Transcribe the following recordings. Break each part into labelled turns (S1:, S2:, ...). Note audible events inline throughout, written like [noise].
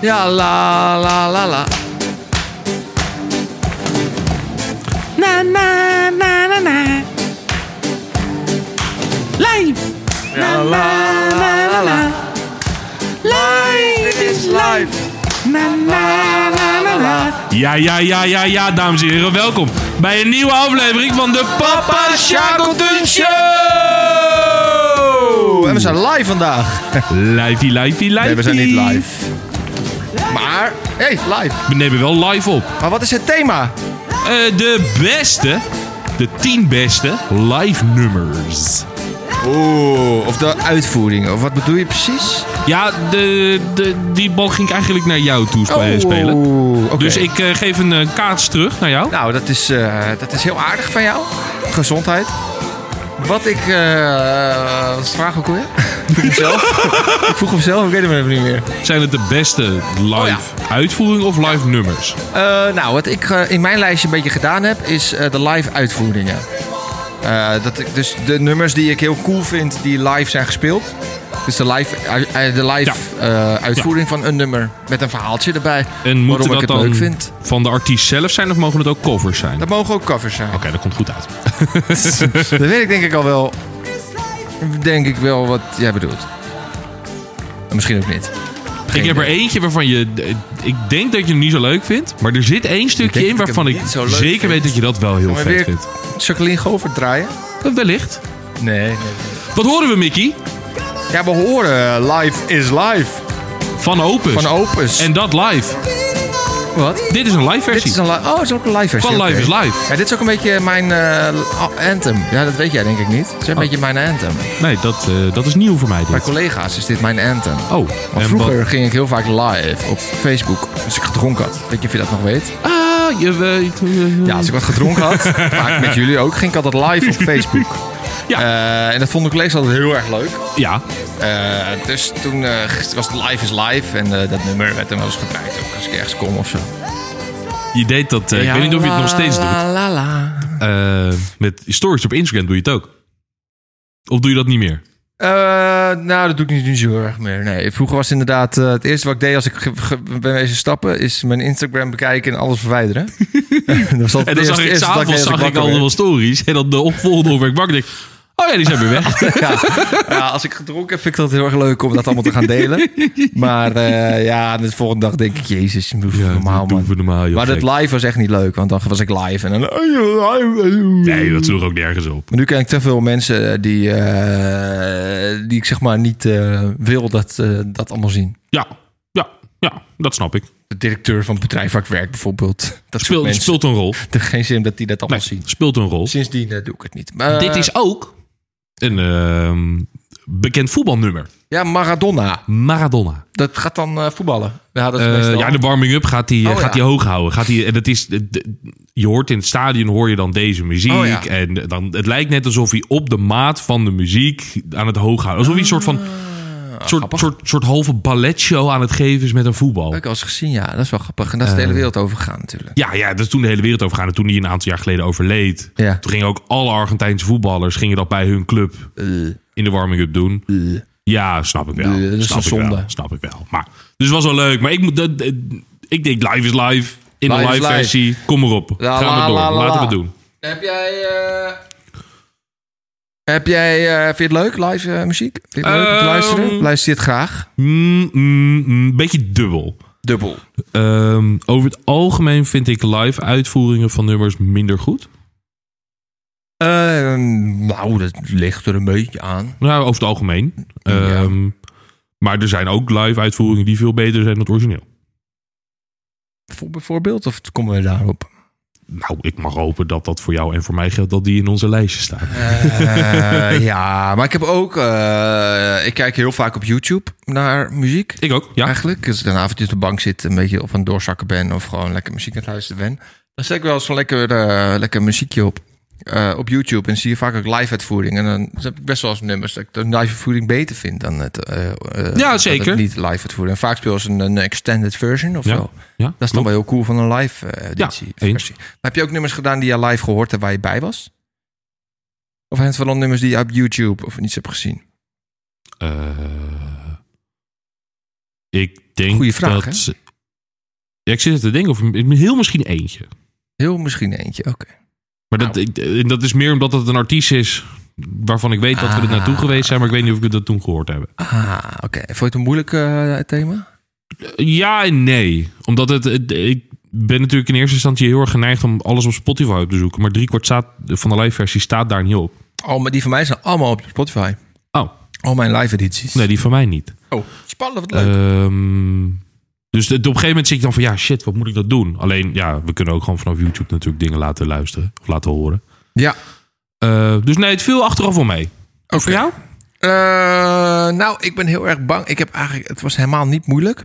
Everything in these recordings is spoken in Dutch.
S1: Ja, la la la la. Na na na na na. Live!
S2: Ja, la, la, la, la.
S1: Live is live. Na na na na na.
S2: Ja, ja, ja, ja, ja, dames en heren. Welkom bij een nieuwe aflevering van de Papa Shackleton Show!
S1: En we zijn live vandaag.
S2: Livey, livey, livey.
S1: Nee, we zijn niet live. Maar, hey, live.
S2: We nemen wel live op.
S1: Maar wat is het thema?
S2: Eh, de beste, de tien beste live nummers.
S1: Oeh, of de uitvoering. Of wat bedoel je precies?
S2: Ja, de, de, die bal ging eigenlijk naar jou toe spe- spelen.
S1: Oeh, Oh, oké.
S2: Dus ik eh, geef een eh, kaats terug naar jou.
S1: Nou, dat is, eh, dat is heel aardig van jou. Gezondheid. Wat ik... eh wat is de vraag ook alweer? Ik vroeg hem zelf. [laughs] ik vroeg hem zelf, ik weet hem even niet meer.
S2: Zijn het de beste live
S1: Oh ja.
S2: uitvoering of live nummers?
S1: Eh, nou, wat ik eh, in mijn lijstje een beetje gedaan heb, is eh, de live uitvoeringen. Eh, dat ik, dus de nummers die ik heel cool vind, die live zijn gespeeld. Dus de live, eh, de live eh, uitvoering van een nummer met een verhaaltje erbij.
S2: En moeten
S1: waarom
S2: dat
S1: ik het
S2: dan
S1: leuk vind.
S2: van de artiest zelf zijn of mogen het ook covers zijn? Oké,
S1: Dat mogen ook covers zijn.
S2: dat komt goed uit.
S1: dat weet ik denk ik al wel. Denk ik wel wat jij bedoelt. En Misschien ook niet.
S2: ik heb er
S1: idee.
S2: eentje waarvan je... eh, Ik denk dat je hem niet zo leuk vindt. Maar er zit één
S1: denk dat
S2: stukje
S1: ik
S2: in
S1: hem
S2: waarvan ik
S1: niet zo leuk
S2: zeker
S1: vind.
S2: weet dat je dat wel heel
S1: Maar
S2: vet
S1: weer-
S2: vindt. Eh,
S1: Jacqueline Govert draaien?
S2: Wellicht.
S1: Nee, nee.
S2: Wat horen we, Mickey?
S1: Ja, we horen eh, Live is Live
S2: Van Opus.
S1: van Opus.
S2: Dus- en dat live.
S1: wat?
S2: Dit is een live versie.
S1: Dit is een li- oh, het is ook een live versie.
S2: Van
S1: oké.
S2: Live is Live.
S1: Ja, dit is ook een beetje mijn eh, anthem. Ja, dat weet jij denk ik niet. Het is
S2: Oh.
S1: een beetje mijn anthem.
S2: Nee, dat, eh, dat is nieuw voor mij.
S1: Bij
S2: Dit.
S1: collega's is dit mijn anthem.
S2: Oh,
S1: Want vroeger ging ik heel vaak live op Facebook als ik gedronken had. Weet je of je dat nog weet?
S2: Ah, je weet.
S1: Ja, als ik wat gedronken
S2: [laughs]
S1: had, vaak met jullie ook, ging ik altijd live op Facebook.
S2: Ja.
S1: Eh, en dat vonden collega's altijd heel erg leuk.
S2: Ja,
S1: Eh, dus toen eh, was het Live is Live en eh, dat nummer werd dan wel eens gedraaid ook als ik ergens kom of zo.
S2: je deed dat. eh, ik weet niet of je het nog steeds doet.
S1: La, la, la.
S2: Eh, met stories op Instagram doe je het ook. Of doe je dat niet meer?
S1: Eh, nou, dat doe ik niet, niet zo erg meer. Nee, vroeger was het inderdaad eh, het eerste wat ik deed als ik ge- ge- ben wezen stappen, is mijn Instagram bekijken en alles
S2: [laughs]
S1: verwijderen. [laughs] dat was altijd
S2: En dan
S1: het
S2: zag ik
S1: eerste dat deed
S2: s'avonds
S1: als
S2: zag ik
S1: wakker
S2: al
S1: werd.
S2: wel stories. En dan de opvolgende over ik wakker denk. Oh ja, die zijn weer weg.
S1: Ja, als ik gedronken heb, vind ik dat heel erg leuk om dat allemaal te gaan
S2: [laughs]
S1: delen. Maar eh, ja, de volgende dag denk ik, jezus,
S2: [laughs] Ja,
S1: normaal
S2: dat doen
S1: man.
S2: we normaal, joh,
S1: maar dat
S2: gek.
S1: live was echt niet leuk, want dan was ik live en dan... "Oh,
S2: Nee, dat sloeg ook nergens op.
S1: Maar nu ken ik te veel mensen die, eh, die ik zeg maar niet eh, wil dat, eh, dat allemaal zien.
S2: Ja, ja, ja, dat snap ik.
S1: De directeur van het bedrijf waar ik werk bijvoorbeeld. Dat soort
S2: Speelt,
S1: mensen.
S2: speelt een rol.
S1: Het heeft geen zin dat die dat allemaal
S2: Nee,
S1: zien.
S2: speelt een rol.
S1: Sindsdien eh, doe ik het niet. Maar, eh,
S2: Dit is ook een ehm, bekend voetbalnummer.
S1: Ja, Maradona.
S2: Maradona.
S1: Dat gaat dan eh, voetballen. Ja, dat is
S2: Eh,
S1: meestal.
S2: ja, de warming-up gaat hij eh,
S1: Oh,
S2: gaat
S1: ja.
S2: die hoog houden. Gaat die, en dat is, de- de- je hoort in het stadion hoor je dan deze muziek.
S1: Oh, ja.
S2: En dan, het lijkt net alsof hij op de maat van de muziek aan het hoog houden. Alsof hij een soort van soort,
S1: Ah, grappig.
S2: soort, soort halve balletshow aan het geven is met een voetbal.
S1: Heb ik al eens gezien, ja. Dat is wel grappig. En dat is
S2: Eh.
S1: de hele wereld overgegaan natuurlijk.
S2: Ja, ja, dat is toen de hele wereld overgaan. En toen hij een aantal jaar geleden overleed.
S1: Ja.
S2: Toen gingen ook alle Argentijnse voetballers gingen dat bij hun club in de warming-up doen. Ja, snap ik wel.
S1: Eh, dat is
S2: snap
S1: een
S2: ik wel,
S1: zonde.
S2: Snap ik wel. Maar, dus het was wel leuk. Maar ik, moet, dat, dat- ik denk live is live. In de
S1: Live is
S2: live,
S1: live.
S2: versie. Kom erop.
S1: La,
S2: Gaan
S1: la,
S2: we door.
S1: la, la,
S2: Laten we
S1: la.
S2: het doen.
S1: Heb jij... eh, Heb jij... eh, vind je het leuk, live eh, muziek? Vind je het leuk om te
S2: Ehm.
S1: luisteren? Luister je het graag?
S2: Mm, mm, mm, beetje dubbel.
S1: Dubbel.
S2: Ehm, over het algemeen vind ik live uitvoeringen van nummers minder goed.
S1: Ehm, nou, dat ligt er een beetje aan.
S2: Nou, over het algemeen. Ehm, Maar er zijn ook live uitvoeringen die veel beter zijn dan het origineel.
S1: Voor- Bijvoorbeeld, of komen we daarop?
S2: Nou, ik mag hopen dat dat voor jou en voor mij geldt dat die in onze lijstje staan.
S1: Eh, [laughs] ja, maar ik heb ook... eh, ik kijk heel vaak op YouTube naar muziek.
S2: Ik ook, ja.
S1: Eigenlijk, Dus als ik een avondje op de bank zit... een beetje of aan het doorzakken ben... of gewoon lekker muziek aan het luisteren ben... dan zet ik wel eens zo'n lekker, eh, lekker muziekje op. eh, op YouTube en zie je vaak ook live uitvoering. En dan heb ik best wel eens nummers dat ik de live uitvoering beter vind dan het, eh, eh, dat het
S2: zeker.
S1: niet live uitvoering. En vaak speel ze een, een extended version of
S2: Ja,
S1: zo.
S2: ja
S1: Dat is dan wel heel cool van een live eh, editie.
S2: Ja, eens.
S1: versie. Maar heb je ook nummers gedaan die je live gehoord hebt waar je bij was? Of zijn het vooral nummers die je op YouTube of niets hebt gezien?
S2: Eh, Ik denk
S1: Goeie vraag,
S2: dat... Ja, ik zit te denken of heel misschien eentje.
S1: Heel misschien eentje, oké.
S2: Maar
S1: Nou.
S2: dat, ik- en dat is meer omdat het een artiest is waarvan ik weet dat we er naartoe
S1: Ah.
S2: geweest zijn, maar ik weet niet of ik dat toen gehoord heb.
S1: Ah, oké. Vond je het een moeilijk eh, thema?
S2: Eh, Ja en nee. Omdat het, het- Ik ben natuurlijk in eerste instantie heel erg geneigd om alles op Spotify op te zoeken. Maar driekwart staat, van de live versie staat daar niet op.
S1: Oh, maar die van mij zijn allemaal op Spotify.
S2: Oh,
S1: Al mijn live edities.
S2: nee, die van mij niet.
S1: Oh, spannend, wat leuk.
S2: Ehm, dus het- op een gegeven moment zit je dan van ja, shit, wat moet ik dat doen? Alleen ja, we kunnen ook gewoon vanaf YouTube natuurlijk dingen laten luisteren of laten horen.
S1: ja.
S2: Eh, dus nee, het viel achteraf wel mee.
S1: Oké.
S2: Voor jou?
S1: Eh, nou, ik ben heel erg bang. Ik heb eigenlijk, het was helemaal niet moeilijk.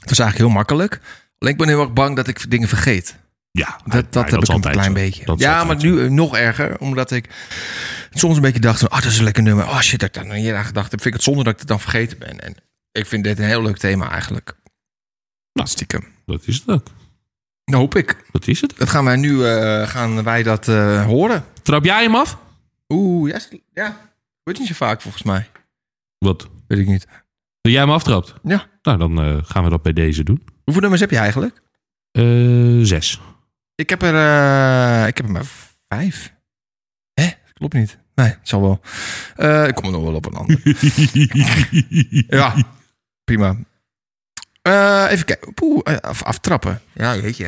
S1: Het was eigenlijk heel makkelijk. Alleen ik ben heel erg bang dat ik dingen vergeet.
S2: Ja,
S1: Dat, dat heb ik een klein beetje. ja, maar nu eh, nog erger. Omdat ik soms een beetje dacht van... Ah, dat is een lekker nummer. Oh shit, dat ik daar nog niet aan gedacht heb. Vind ik het zonde dat ik het dan vergeten ben. En ik vind dit een heel leuk thema eigenlijk.
S2: Nou.
S1: Stiekem.
S2: Dat is het ook.
S1: Dat hoop ik.
S2: Dat is het.
S1: Dat gaan wij nu eh, gaan wij dat eh, horen.
S2: Trap jij hem af?
S1: Oeh, ja, s- ja. Wordt niet zo vaak volgens mij.
S2: Wat?
S1: Weet ik niet.
S2: Dat jij hem aftrapt?
S1: Ja.
S2: Nou, dan eh, gaan we dat bij deze doen.
S1: Hoeveel nummers heb je eigenlijk?
S2: Eh, zes.
S1: Ik heb er, eh, ik heb er maar vijf. Hè? Dat klopt niet. Nee, het zal wel. Eh, ik kom er nog wel op een ander. [laughs] ja, prima. Eh, even kijken. Poeh, eh, af- aftrappen. Ja, jeetje.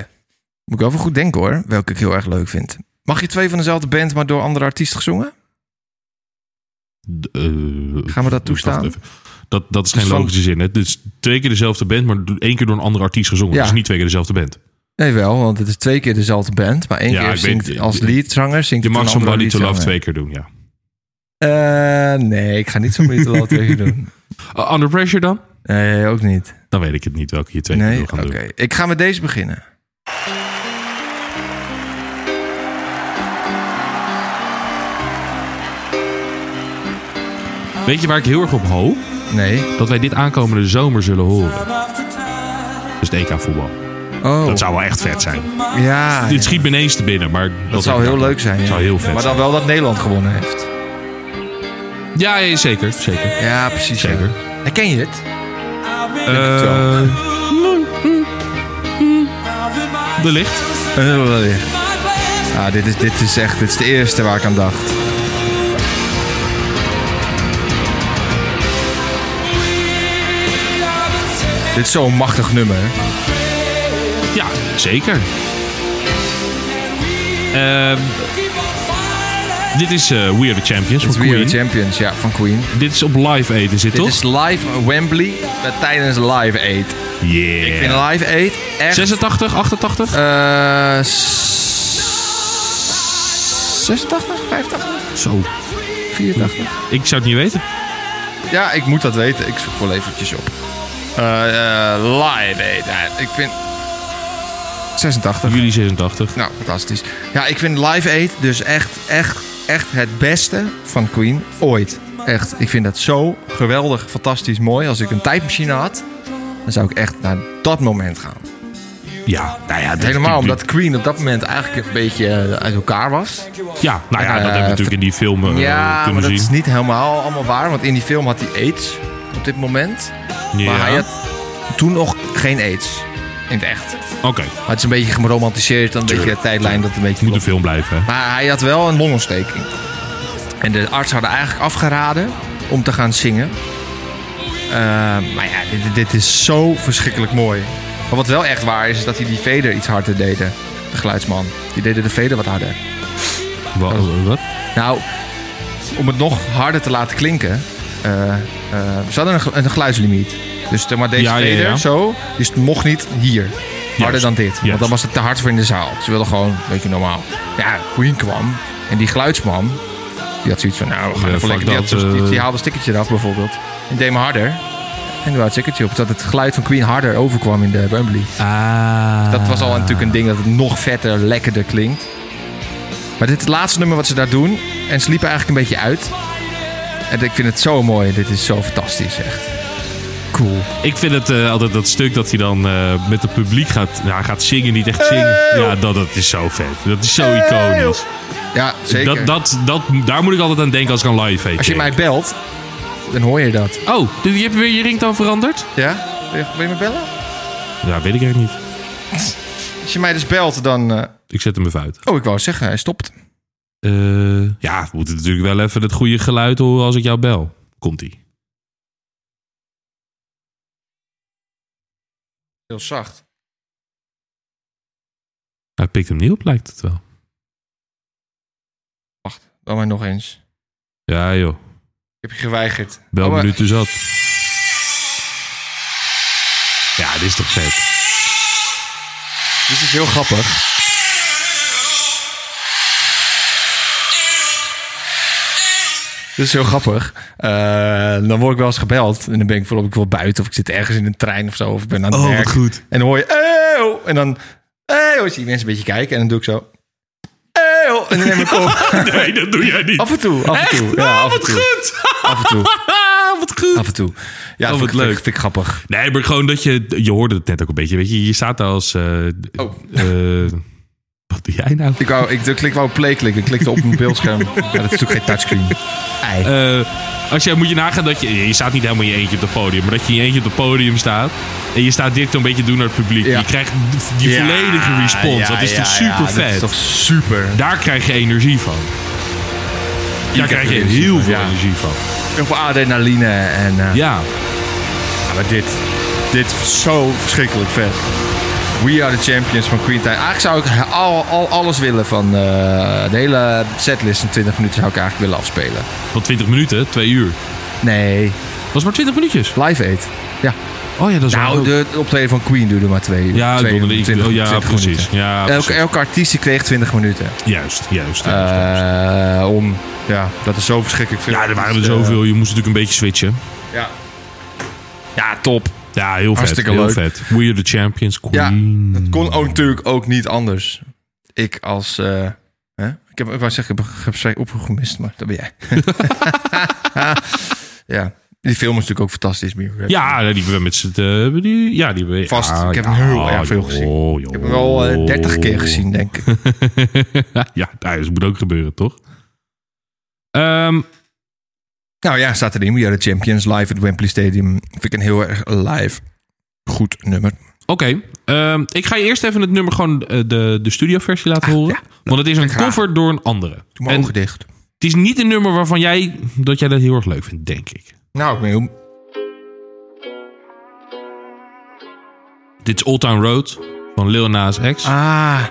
S1: Moet ik wel even goed denken hoor, welke ik heel erg leuk vind. Mag je twee van dezelfde band, maar door andere artiest gezongen?
S2: D- eh,
S1: Gaan we dat toestaan?
S2: wacht even. Dat, dat is
S1: Dus
S2: geen
S1: van-
S2: logische zin. Hè? Het is twee keer dezelfde band, maar do- één keer door een andere artiest gezongen.
S1: Ja.
S2: Dus niet twee keer dezelfde band.
S1: Nee, wel, want het is twee keer dezelfde band. Maar één
S2: Ja,
S1: keer
S2: ik
S1: zingt
S2: weet-
S1: als leadzanger. Zingt
S2: Je
S1: het
S2: mag
S1: een andere
S2: Somebody to
S1: leadzanger.
S2: Love twee keer doen, ja.
S1: Eh, nee, ik ga niet Somebody to Love [laughs] 2 doen.
S2: Uh, under Pressure dan?
S1: Nee, ook niet.
S2: Dan weet ik het niet welke je twee keer
S1: Nee,
S2: wil
S1: oké.
S2: gaan doen.
S1: Ik ga met deze beginnen.
S2: Weet je waar ik heel erg op hoop?
S1: Nee.
S2: Dat wij dit aankomende zomer zullen horen. Dat is het EK voetbal.
S1: Oh,
S2: Dat zou wel echt vet zijn.
S1: ja. ja.
S2: Dit schiet me ineens te binnen, maar... Dat,
S1: Dat zou
S2: ik-
S1: heel leuk zijn.
S2: Dat
S1: ja.
S2: zou heel vet
S1: Maar dan wel dat Nederland gewonnen heeft.
S2: zijn. Ja, ja, zeker. Zeker.
S1: Ja, precies. ja.
S2: Zeker.
S1: Herken je het?
S2: Eh wellicht.
S1: Ah, dit, is, dit is echt dit is de eerste waar ik aan dacht. Dit is zo'n machtig nummer.
S2: Ja, zeker. Ehm, dit is eh We Are The
S1: Het
S2: Champions van
S1: is We Are
S2: Queen.
S1: The Champions, ja, van Queen.
S2: dit is op Live Aid, is dit
S1: Dit
S2: toch?
S1: is live Wembley met tijdens Live Aid.
S2: Yeah.
S1: Ik vind Live Aid echt...
S2: 86, 88?
S1: eh, s- 86, 85,
S2: Zo.
S1: 84.
S2: Ik zou het niet weten.
S1: Ja, ik moet dat weten. Ik zoek wel eventjes op. Eh, eh, live Aid. Ja, ik vind... 86.
S2: Jullie 86.
S1: Nou, fantastisch. Ja, ik vind Live Aid dus echt, echt, echt het beste van Queen ooit. Echt, ik vind dat zo geweldig, fantastisch, mooi. Als ik een tijdmachine had, dan zou ik echt naar dat moment gaan.
S2: Ja, nou ja. dat-
S1: Helemaal omdat Queen op dat moment eigenlijk een beetje eh, uit elkaar was.
S2: Ja, nou ja, dat hebben we
S1: Eh,
S2: natuurlijk in die film eh,
S1: Ja, maar
S2: kunnen
S1: dat
S2: zien.
S1: is niet helemaal allemaal waar. Want in die film had hij AIDS op dit moment.
S2: Ja.
S1: Maar hij had toen nog geen AIDS. In het echt.
S2: Oké,
S1: Maar het is een beetje geromantiseerd. Dan een beetje de tijdlijn dat het een beetje
S2: moet een
S1: klopt.
S2: film blijven. hè?
S1: Maar hij had wel een longontsteking. En de arts hadden eigenlijk afgeraden om te gaan zingen. Eh, maar ja, dit, dit is zo verschrikkelijk mooi. Maar wat wel echt waar is, is dat hij die veder iets harder deden. De geluidsman. Die deden de veder wat harder.
S2: Wa- Wat?
S1: Nou, om het nog harder te laten klinken. eh, eh, ze hadden een, gel- een geluidslimiet. Dus zeg maar deze
S2: Ja, ja,
S1: veder,
S2: ja.
S1: zo, dus het mocht niet hier. Harder
S2: Juist,
S1: dan dit. Want dan
S2: juist.
S1: was het te hard voor in de zaal. Ze wilden gewoon een beetje normaal. Ja, Queen kwam. En die geluidsman, die had zoiets van, nou, we gaan
S2: Ja,
S1: even
S2: fuck
S1: lekker. Die, had
S2: dat,
S1: zo'n- die,
S2: eh.
S1: die haalde een stickertje eraf bijvoorbeeld. En deed hem harder. En daar had stickertje op. Dat het geluid van Queen harder overkwam in de Wembley.
S2: Ah.
S1: Dat was al natuurlijk een ding dat het nog vetter, lekkerder klinkt. Maar dit is het laatste nummer wat ze daar doen. En ze liepen eigenlijk een beetje uit. En ik vind het zo mooi. Dit is zo fantastisch, echt. Cool.
S2: Ik vind het eh, altijd dat stuk dat hij dan eh, met het publiek gaat, ja, hij gaat zingen, niet echt zingen. Ja, dat, dat is zo vet. Dat is zo iconisch.
S1: Ja, zeker.
S2: Dat, dat, dat, daar moet ik altijd aan denken als ik aan live eet.
S1: Als je mij belt, dan hoor je dat.
S2: Oh, dus je, hebt weer, je ring dan veranderd?
S1: Ja? Wil je, wil je me bellen?
S2: Ja, weet ik eigenlijk niet.
S1: Als je mij dus belt, dan... eh,
S2: Ik zet hem even uit.
S1: Oh, ik wou zeggen, hij stopt.
S2: Eh, ja, we moeten natuurlijk wel even het goede geluid horen als ik jou bel. Komt-ie.
S1: Heel zacht.
S2: Hij pikt hem niet op, lijkt het wel.
S1: Wacht, dan maar nog eens.
S2: Ja, joh.
S1: Ik heb je geweigerd.
S2: Bel
S1: Oh, maar-
S2: minuten zat. Ja, dit is toch vet.
S1: Dit is heel grappig. Dit is heel grappig. Eh, dan word ik wel eens gebeld. En dan ben ik bijvoorbeeld ik wil buiten. Of ik zit ergens in een trein of zo. Of ik ben aan het werk.
S2: Oh, goed.
S1: En dan hoor je... Eeuw! En dan... Eeuw! Dan Zie je mensen een beetje kijken. En dan doe ik zo... Eeuw! En dan neem ik
S2: [laughs]
S1: op.
S2: [laughs] Nee, dat doe jij niet. Oh,
S1: Af en toe. Af en toe. Ja, af en toe.
S2: goed. [laughs]
S1: Af en toe.
S2: wat goed.
S1: Af en toe. Ja,
S2: wat
S1: vind, ik-
S2: leuk.
S1: Vind, ik- vind ik grappig.
S2: Nee, maar gewoon dat je... Je hoorde het net ook een beetje. Weet je, je staat daar als... eh,
S1: Oh.
S2: eh, [laughs] wat doe jij nou?
S1: Ik, wou, ik klik wou op play klikken. Ik klikte op mijn beeldscherm. Ja, dat is natuurlijk geen touchscreen. Ei.
S2: Eh, als jij moet je nagaan dat je... Je staat niet helemaal in je eentje op het podium. Maar dat je in je eentje op het podium staat. En je staat dit een beetje doen naar het publiek.
S1: Ja.
S2: Je krijgt die
S1: Ja,
S2: volledige respons. dat is
S1: ja,
S2: toch
S1: ja,
S2: super vet.
S1: Dat is toch super.
S2: Daar krijg je energie van. Daar krijg je
S1: energie
S2: heel
S1: van,
S2: veel
S1: ja.
S2: energie van.
S1: Heel veel adrenaline en... eh,
S2: Ja.
S1: ja, maar dit. Dit is zo verschrikkelijk vet. We are the champions van Queen Time. Eigenlijk zou ik al, al, alles willen van eh, de hele setlist in 20 minuten zou ik eigenlijk willen afspelen.
S2: Van 20 minuten, 2 uur.
S1: Nee,
S2: Dat was maar 20 minuutjes.
S1: Live Aid. Ja.
S2: Oh ja, dat is wel
S1: Nou,
S2: leuk.
S1: de optreden van Queen duurde maar twee uur.
S2: Ja, ik
S1: twee
S2: wilde- ik- oh, ja, precies.
S1: minuten.
S2: Ja,
S1: elke,
S2: precies.
S1: elke artiest die kreeg 20 minuten.
S2: Juist, juist. juist.
S1: Eh, om, ja, dat is zo verschrikkelijk veel.
S2: ja, er waren er
S1: Dus, eh,
S2: zoveel. Je moest natuurlijk een beetje switchen.
S1: Ja. ja, top.
S2: Ja, heel vet.
S1: Hartstikke
S2: heel
S1: leuk.
S2: vet. We are the champions,
S1: Ja,
S2: queen.
S1: dat kon ook natuurlijk ook niet anders. Ik als... eh, hè? Ik, heb, ik wou zeggen, ik heb- ik heb twee oproep gemist, maar dat ben
S2: [laughs]
S1: jij. ja, die film is natuurlijk ook fantastisch. maar ik heb-
S2: Ja, die hebben we met z'n... eh, die- Ja, die hebben we...
S1: Vast,
S2: ja,
S1: ik heb
S2: ja,
S1: heel erg veel
S2: joh,
S1: gezien.
S2: joh.
S1: Ik heb hem wel eh, 30 keer gezien, denk
S2: [laughs]
S1: ik.
S2: ja, nou, dat moet ook gebeuren, toch? Ehm,
S1: nou ja, staat erin. We are the champions live at Wembley Stadium. Vind ik een heel erg live goed nummer.
S2: Oké, ehm, ik ga je eerst even het nummer gewoon eh, de, de studioversie laten horen.
S1: Ah, ja. Nou,
S2: Want het is een
S1: graag.
S2: cover door een andere.
S1: Doe
S2: En
S1: mijn ogen dicht.
S2: het is niet een nummer waarvan jij dat, jij dat heel erg leuk vindt, denk ik.
S1: Nou, ik ben heel...
S2: Dit is Old Town Road van Lil Nas X.
S1: Ah.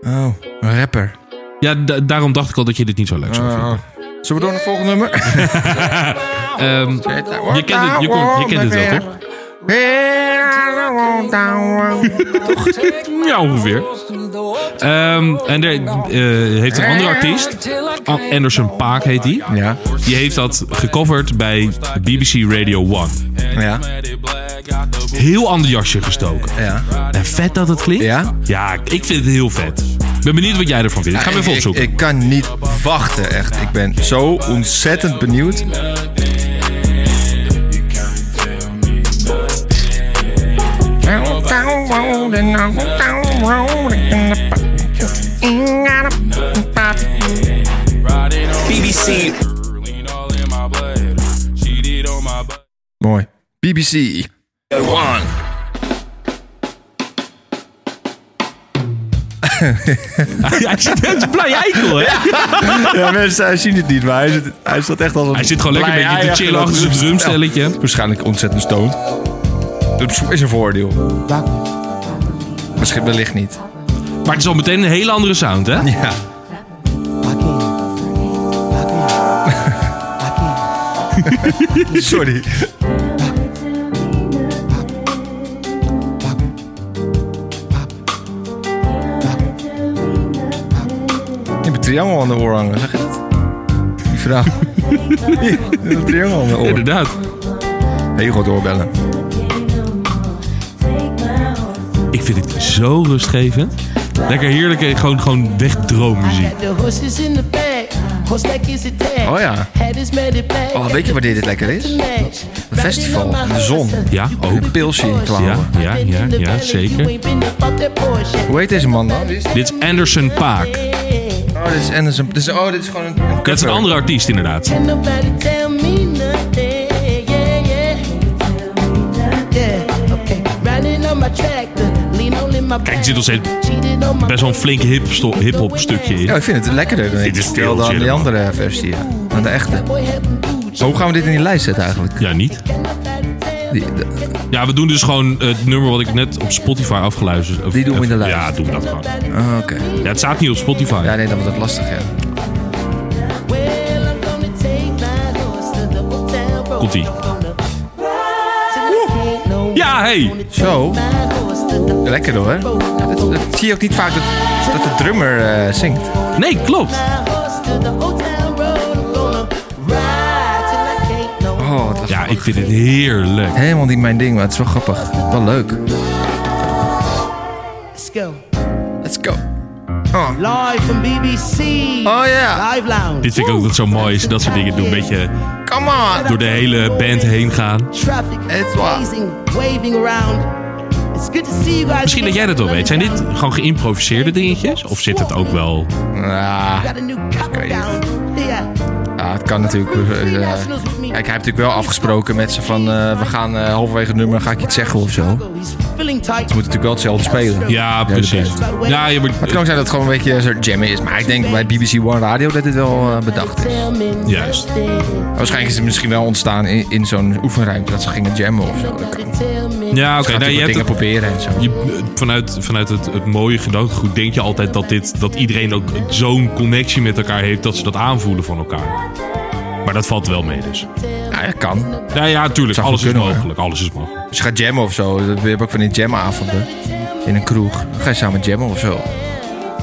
S1: Oh, een rapper.
S2: Ja, da- daarom dacht ik al dat je dit niet zo leuk zou vinden.
S1: Oh. Zullen we door naar het volgende nummer?
S2: [laughs] Ehm, je, kent het, je, kon- je kent het wel, toch? Ja, ongeveer. Ehm, en er eh, heeft een andere artiest, An- Anderson Paak heet die.
S1: Ja,
S2: Die heeft dat gecoverd bij BBC Radio 1.
S1: ja,
S2: Heel ander jasje gestoken.
S1: ja.
S2: En vet dat het klinkt?
S1: Ja?
S2: Ja, ik vind het heel vet. Ik ben benieuwd wat jij ervan vindt. Ik ga hem even
S1: ik,
S2: opzoeken. [laughs]
S1: ik kan niet wachten, echt. Ik ben zo ontzettend benieuwd.
S3: BBC.
S1: Mooi. BBC.
S3: One.
S2: Hij zit net een blij eikel, hè?
S1: Ja, mensen hij zien het niet, maar hij, zit, hij staat echt als een...
S2: Hij zit gewoon lekker
S1: blij
S2: een beetje te
S1: ei
S2: chillen achter zijn drumstelletje.
S1: Waarschijnlijk ontzettend stoned. Dat is een voordeel. Misschien wellicht niet.
S2: Maar het is al meteen een hele andere sound, hè?
S1: Ja. Sorry. Je hebt een triangel aan de oor hangen, zeg je dat? Die [laughs] vrouw. Je hebt een triangel aan de oor.
S2: Inderdaad.
S1: Heel goed doorbellen.
S2: Ik vind het zo rustgevend. Lekker heerlijke, gewoon, gewoon wegdroommuziek.
S4: The horses in the back, horse like is it tag.
S1: Oh ja.
S4: Had his medic bag.
S1: Oh, weet je waar dit lekker is? Een festival in de zon.
S2: Ja, ook.
S1: Een pilsje in je klauwen.
S2: Ja, ja, ja, ja, zeker.
S1: Hoe heet deze man dan?
S2: Dit is Anderson Paak.
S1: Oh, dit is Anderson. Dit is, oh, dit is gewoon een, een
S2: Dat is een
S1: cover.
S2: andere artiest, inderdaad.
S4: Nobody tell me nothing. Yeah, yeah.
S2: Kijk, er zit nog steeds best wel een flink hip- hip-hop stukje in.
S1: Ja, ik vind het lekkerder dan,
S2: Dit is
S1: ik-
S2: veel
S1: dan die
S2: chiller, man.
S1: andere versie. Ja. Dan de echte. Maar hoe gaan we dit in die lijst zetten eigenlijk?
S2: Ja, niet.
S1: Die, de-
S2: Ja, we doen dus gewoon het nummer wat ik net op Spotify afgeluisterd of-
S1: Die doen we in de lijst.
S2: Ja, doen we dat gewoon.
S1: oh, Oké.
S2: Ja, het staat niet op Spotify.
S1: Ja, nee, dan wordt het lastig, ja.
S2: Komt-ie. Ja, hey!
S1: Zo. Lekker hoor. Dat, dat zie je ook niet vaak dat, dat de drummer eh, zingt.
S2: Nee, klopt.
S1: Oh, wat lastig.
S2: Ja, ik vind het heerlijk.
S1: Helemaal niet mijn ding, maar het is wel grappig. Wel leuk.
S4: Let's go.
S1: Let's go. Oh,
S4: Live from BBC.
S1: oh ja.
S4: Live lounge.
S2: Dit vind ik ook dat zo mooi is. Dat soort dingen doen. Een beetje
S1: Come on.
S2: door de hele band heen gaan.
S4: Traffic
S1: It's what?
S4: blazing, waving around. It's good to see you guys.
S2: Misschien dat jij dat wel weet. Zijn dit gewoon geïmproviseerde dingetjes? Of zit het ook wel...
S1: Ja,
S4: Got a new couple
S1: Kan je
S4: down. Yeah.
S1: ja, het kan natuurlijk. eh, eh, kijk, hij heeft natuurlijk wel afgesproken met ze van... eh, we gaan eh, halverwege het nummer, ga ik iets zeggen of zo. Het
S4: He's feeling tight.
S1: moet natuurlijk wel hetzelfde spelen.
S2: Ja, precies. Ja, je wordt...
S1: Het kan ook zijn dat het gewoon een beetje zo'n jam is. Maar ik denk bij BBC One Radio dat dit wel eh, bedacht is.
S2: Juist.
S1: Waarschijnlijk is het misschien wel ontstaan in, in zo'n oefenruimte. Dat ze gingen jammen of zo. Dat kan.
S2: Ja, oké.
S1: Gaat
S2: nou,
S1: hij
S2: je
S1: wat dingen
S2: hebt het-
S1: proberen en zo.
S2: je- vanuit vanuit het, het mooie gedachtegoed denk je altijd dat, dit, dat iedereen ook zo'n connectie met elkaar heeft... dat ze dat aanvoelen van elkaar. Maar dat valt wel mee dus.
S1: Ja, dat kan.
S2: Ja, ja, tuurlijk.
S1: Zou
S2: Alles
S1: goed
S2: is
S1: kunnen, hoor.
S2: mogelijk. Alles is mogelijk.
S1: Als je gaat jammen of zo, we hebben ook van die jamavonden in een kroeg. Dan ga je samen jammen of zo.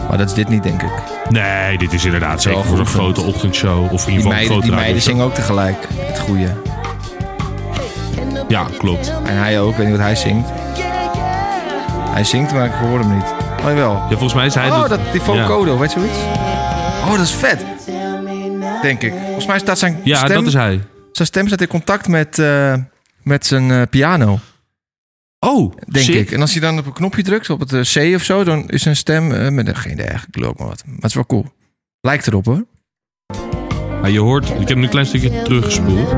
S1: Maar dat is dit niet, denk ik.
S2: Nee, dit is inderdaad zeker
S1: Wel
S2: voor zo'n
S1: goed, want
S2: grote ochtendshow. Of in
S1: Die
S2: ieder geval een
S1: meiden,
S2: grote
S1: die meiden
S2: radioshow.
S1: zingen ook tegelijk het goede.
S2: Ja, klopt.
S1: En hij ook, ik weet niet wat hij zingt. Hij zingt, maar ik hoor hem niet. Oh, jawel.
S2: Ja, volgens mij zei hij
S1: Oh, dat, die
S2: ja.
S1: Focodo, weet je zoiets? Oh, dat is vet. Denk ik. Volgens mij staat zijn
S2: Ja,
S1: stem...
S2: dat is hij.
S1: Zijn stem staat in contact met, eh, met zijn eh, piano,
S2: Oh,
S1: denk
S2: sick.
S1: ik. En als hij dan op een knopje drukt, op het eh, C of zo, dan is zijn stem... eh, met geen idee eigenlijk, ik loop maar wat. Maar het is wel cool. Lijkt erop, hoor.
S2: Maar je hoort, ik heb nu een klein stukje teruggespoeld.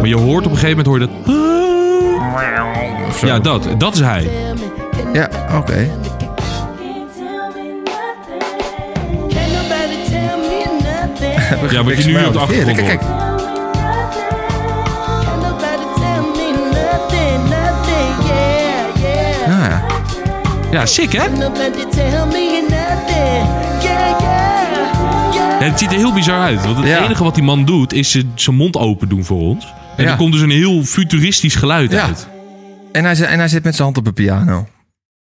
S2: Maar je hoort op een gegeven moment hoor je dat.
S1: Of zo.
S2: Ja, dat, dat is hij.
S1: Ja, oké. [laughs]
S2: Ja, wat je nu op de achtergrond
S1: Kijk, kijk.
S2: hoort.
S1: Ja, Ah, ja.
S2: Ja, sick hè? Ja, het ziet er heel bizar uit. Want het
S1: Ja.
S2: enige wat die man doet is zijn- zijn mond open doen voor ons. En
S1: Ja.
S2: er komt dus een heel futuristisch geluid
S1: Ja.
S2: uit.
S1: En, hij, zit- en hij zit met zijn hand op een piano.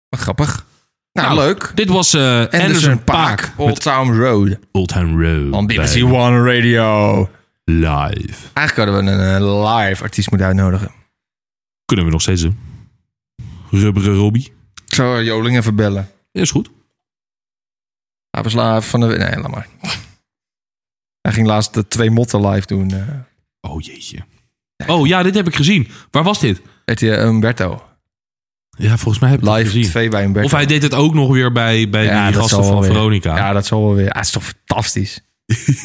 S1: Wat grappig. Nou, leuk.
S2: Dit was eh Anderson,
S1: Anderson
S2: Paak,
S1: dus Paak, Old
S2: met
S1: Town Road.
S2: Old Town Road.
S1: On BBC
S2: bij
S1: One Radio.
S2: Live.
S1: Eigenlijk hadden we een eh, live artiest moeten uitnodigen.
S2: Kunnen we nog steeds doen. Rubberen Robbie.
S1: Ik zou Joling even bellen.
S2: Is goed.
S1: Hij was live van de... Nee, laat maar. Hij ging laatst de twee motten live doen. eh
S2: Oh jeetje. Oh ja, dit heb ik gezien. Waar was dit?
S1: weet je, Umberto.
S2: Ja, volgens mij heb ik het
S1: eh, Live
S2: gezien.
S1: twee bij Umberto.
S2: Of hij deed het ook nog weer bij, bij
S1: Ja,
S2: die
S1: dat
S2: gasten
S1: zal wel
S2: van
S1: weer.
S2: Veronica.
S1: Ja, dat zal wel weer. Ah, het is toch
S2: [laughs]
S1: fantastisch.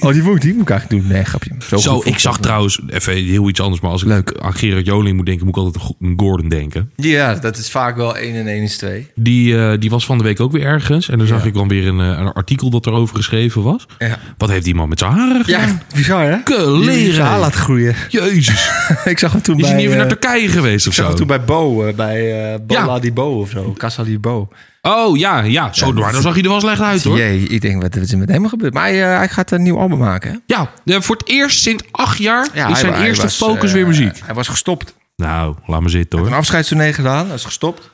S1: oh, die moet, die moet ik eigenlijk doen. Nee, grapje. Zo, goed
S2: Zo,
S1: vond
S2: ik zag
S1: het.
S2: trouwens, even heel iets anders, maar als ik
S1: Leuk.
S2: aan Gerard Joling moet denken, moet ik altijd aan Gordon denken.
S1: Ja, dat is vaak wel 1 en 1 is 2.
S2: Die, eh, die was van de week ook weer ergens en dan zag ik dan weer een, eh, een artikel dat erover geschreven was.
S1: Ja.
S2: Wat heeft die man met zijn haren gedaan?
S1: Ja, bizar hè?
S2: Kleren.
S1: haar laat groeien. [laughs]
S2: Jezus,
S1: ik zag hem toen
S2: is
S1: bij...
S2: hij niet even
S1: eh,
S2: naar Turkije geweest of
S1: ik zag
S2: zo?
S1: hem toen bij Bo, eh, bij eh
S2: Ja.
S1: Bola di Bo of zo. Casa di Bo.
S2: Oh ja, ja, zo, maar dan zag hij er wel slecht uit hoor.
S1: Jee, ik denk, wat is er met hem gebeurd? Maar hij, eh, hij gaat een nieuw album maken hè?
S2: Ja, eh, voor het eerst sinds acht jaar
S1: hij-
S2: is zijn
S1: hij
S2: eerste
S1: was,
S2: focus
S1: eh,
S2: weer muziek.
S1: Hij was gestopt.
S2: Nou, laat maar zitten hoor.
S1: Een afscheidstournee gedaan, hij is gestopt.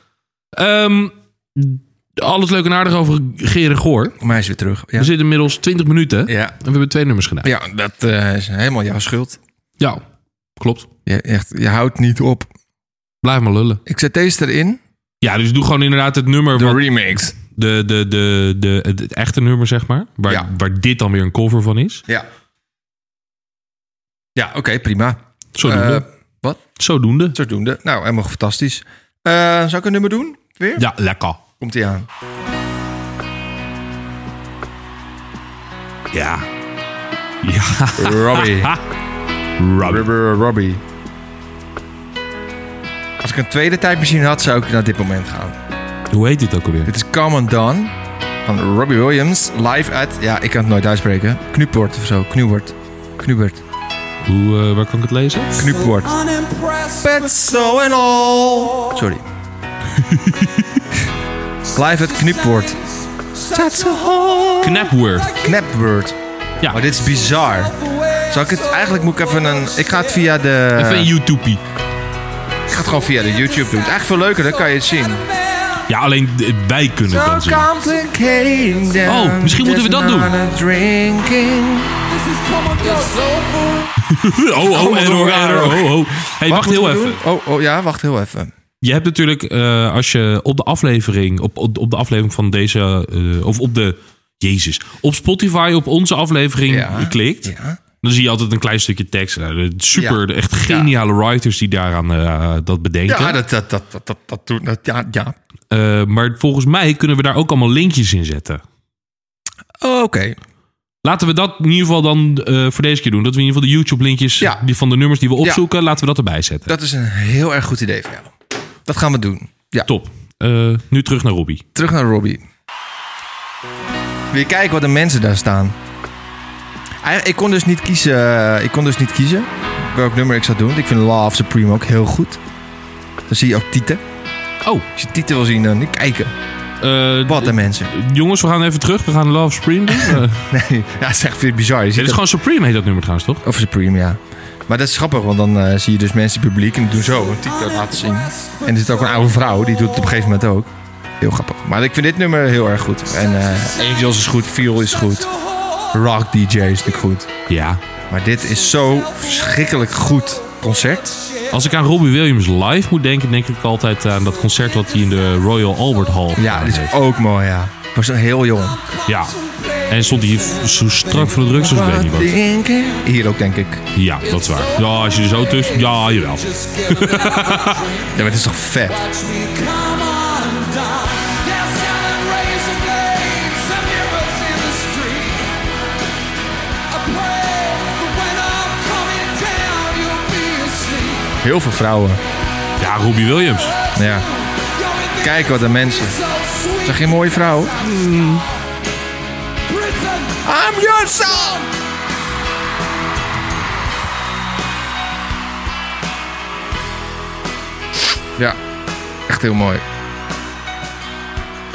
S2: Ehm, alles leuk en aardig over Gerard Goor.
S1: Maar hij is weer terug. Ja,
S2: We zitten inmiddels 20 minuten
S1: ja.
S2: en we hebben twee nummers gedaan.
S1: ja dat eh, is helemaal jouw schuld.
S2: Ja, klopt.
S1: Je, echt, je houdt niet op.
S2: Blijf maar lullen.
S1: Ik zet deze erin.
S2: Ja, dus doe gewoon inderdaad het nummer. wat-
S1: remix.
S2: de, de, de, de, het, het echte nummer, zeg maar. Waar,
S1: Ja.
S2: waar dit dan weer een cover van is.
S1: Ja. Ja, oké, prima.
S2: Zodoende.
S1: Eh, wat?
S2: Zodoende.
S1: Zodoende. Nou, helemaal fantastisch. Eh, zou ik een nummer doen? Weer?
S2: Ja, lekker.
S1: Komt ie aan.
S2: Ja. Ja.
S1: Robbie.
S2: Rubber.
S1: Rubber [laughs] Robbie. Als ik een tweede tijdmachine had, zou ik naar dit moment gaan.
S2: Hoe heet dit ook alweer?
S1: Dit is Common Dawn van Robbie Williams. Live at, ja, ik kan het nooit uitspreken. Knupwoord of zo. Knubert. Knubert.
S2: Hoe, eh, waar kan ik het lezen?
S1: Knupwoord. Petso en al. Sorry. Live at Knupwoord.
S2: Knapworth.
S1: Knapwoord.
S2: Ja.
S1: Maar dit is bizar. Zal ik het... Eigenlijk moet ik even een... Ik ga het via de...
S2: Even een YouTube.
S1: Ik ga het gewoon via de YouTube doen. Het is echt veel leuker, dan kan je het zien.
S2: Ja, alleen eh, wij kunnen het dan zien.
S1: complicated.
S2: Oh, misschien moeten we dat doen. [laughs] Oh, oh, error, error. Oh, oh. Hey, wacht heel even.
S1: Oh, oh, ja, wacht heel even.
S2: Je hebt natuurlijk, eh, als je op de aflevering, op, op, op de aflevering van deze, eh, of op de, jezus, op Spotify op onze aflevering
S1: Ja.
S2: klikt,
S1: Ja.
S2: dan zie je altijd een klein stukje tekst. Nou, de super,
S1: Ja.
S2: de echt geniale writers die daaraan eh, dat bedenken.
S1: Ja, dat, dat, dat, dat, dat, dat doet... Dat, ja, ja.
S2: Eh, maar volgens mij kunnen we daar ook allemaal linkjes in zetten.
S1: Oh, Oké.
S2: Laten we dat in ieder geval dan eh, voor deze keer doen. Dat we in ieder geval de YouTube-linkjes
S1: Ja.
S2: die van de nummers die we opzoeken, laten we dat erbij zetten.
S1: Dat is een heel erg goed idee van jou. Dat gaan we doen. Ja,
S2: Top. Eh, nu terug naar Robbie.
S1: terug naar Robbie. Weer kijken wat de mensen daar staan. Eigenlijk- Ik kon dus niet kiezen, ik kon dus niet kiezen welk nummer ik zou doen. Ik vind Love Supreme ook heel goed. Dan zie je ook Tieten.
S2: Oh,
S1: Als je Tieten wil zien, dan niet kijken.
S2: eh,
S1: Wat de mensen. [laughs]
S2: Jongens, we gaan even terug. We gaan Love Supreme doen. Eh,
S1: Nee, ja, dat is echt weer bizar. Je
S2: dit
S1: ziet
S2: is
S1: dat-
S2: gewoon Supreme heet dat nummer trouwens, toch?
S1: Of Supreme, ja. Maar dat is grappig, want dan eh, zie je dus mensen in het publiek en die doen zo een TikTok laten zien. En er zit ook een oude vrouw, die doet het op een gegeven moment ook. Heel grappig. Maar ik vind dit nummer heel erg goed. En eh, Angels is goed, Feel is goed, Rock DJ is natuurlijk goed.
S2: Ja.
S1: Maar dit is zo verschrikkelijk goed concert.
S2: Als ik aan Robbie Williams live moet denken, denk ik altijd aan dat concert wat hij in de Royal Albert Hall
S1: Ja,
S2: gedaan
S1: dit is
S2: heeft.
S1: ook mooi, ja. Was heel jong.
S2: Ja. En stond hij v- zo strak voor de drugs als ik weet niet wat.
S1: Hier ook, denk ik.
S2: Ja, dat is waar. Ja, als je er zo tussen... Ja, jawel.
S1: Ja, maar het is toch vet. Heel veel vrouwen.
S2: Ja, Robbie Williams.
S1: Ja. Kijk wat de mensen. Is dat geen mooie vrouw? I'm your son! Ja, echt heel mooi.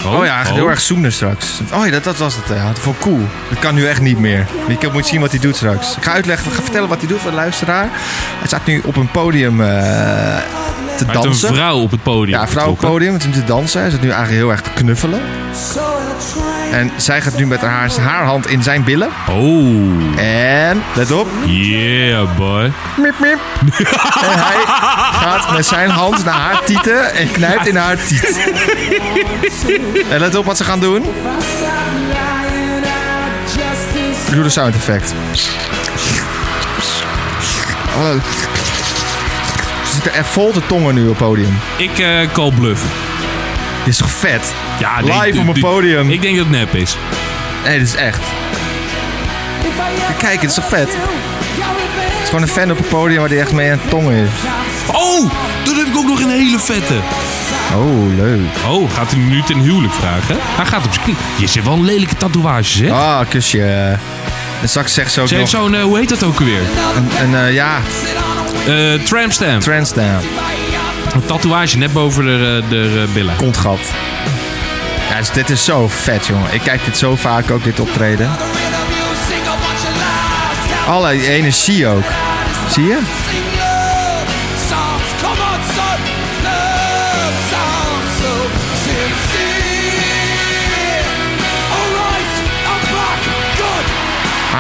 S1: Oh ja, echt heel erg zoenen straks. Oh ja, dat, dat was het. Ja. Dat vond ik cool. Dat kan nu echt niet meer. Ik moet zien wat hij doet straks. Ik ga uitleggen, ik ga vertellen wat hij doet voor de luisteraar. Hij staat nu op een podium eh, te
S2: Hij heeft
S1: dansen.
S2: een vrouw op het podium
S1: Ja, vrouw op het
S2: getrokken.
S1: podium. Het is te dansen. Hij zit nu eigenlijk heel erg te knuffelen. En zij gaat nu met haar, haar hand in zijn billen.
S2: Oh,
S1: En, let op.
S2: yeah boy.
S1: Miep, miep. en
S2: [laughs]
S1: hij gaat met zijn hand naar haar tieten en knijpt in haar tiet. en let op wat ze gaan doen. Ik doe de sound effect. Oh. Ze zitten echt vol de tongen nu op het podium.
S2: Ik eh call bluff.
S1: Dit is toch vet?
S2: Ja,
S1: Live
S2: dit-
S1: op een
S2: dit-
S1: podium.
S2: Ik denk dat het nep is.
S1: Nee, dit is echt. Kijk, dit is toch vet? Het is gewoon een fan op het podium waar die echt mee aan het tongen is.
S2: Oh, toen heb ik ook nog een hele vette.
S1: Oh, leuk.
S2: Oh, gaat hij nu ten huwelijk vragen? Hij gaat op zijn knie. Je zit wel een lelijke tatoeages, hè?
S1: Ah, kusje. En straks zegt ze ook
S2: Ze heeft
S1: nog
S2: zo'n, eh, hoe heet dat ook alweer?
S1: een, een eh, ja,
S2: Eh tramstamp.
S1: transdown.
S2: Een tatoeage net boven de, eh, de eh, billen.
S1: Kontgat. Ja, dus dit is zo vet, jongen. Ik kijk dit zo vaak, ook dit optreden. Alle energie ook. Zie je?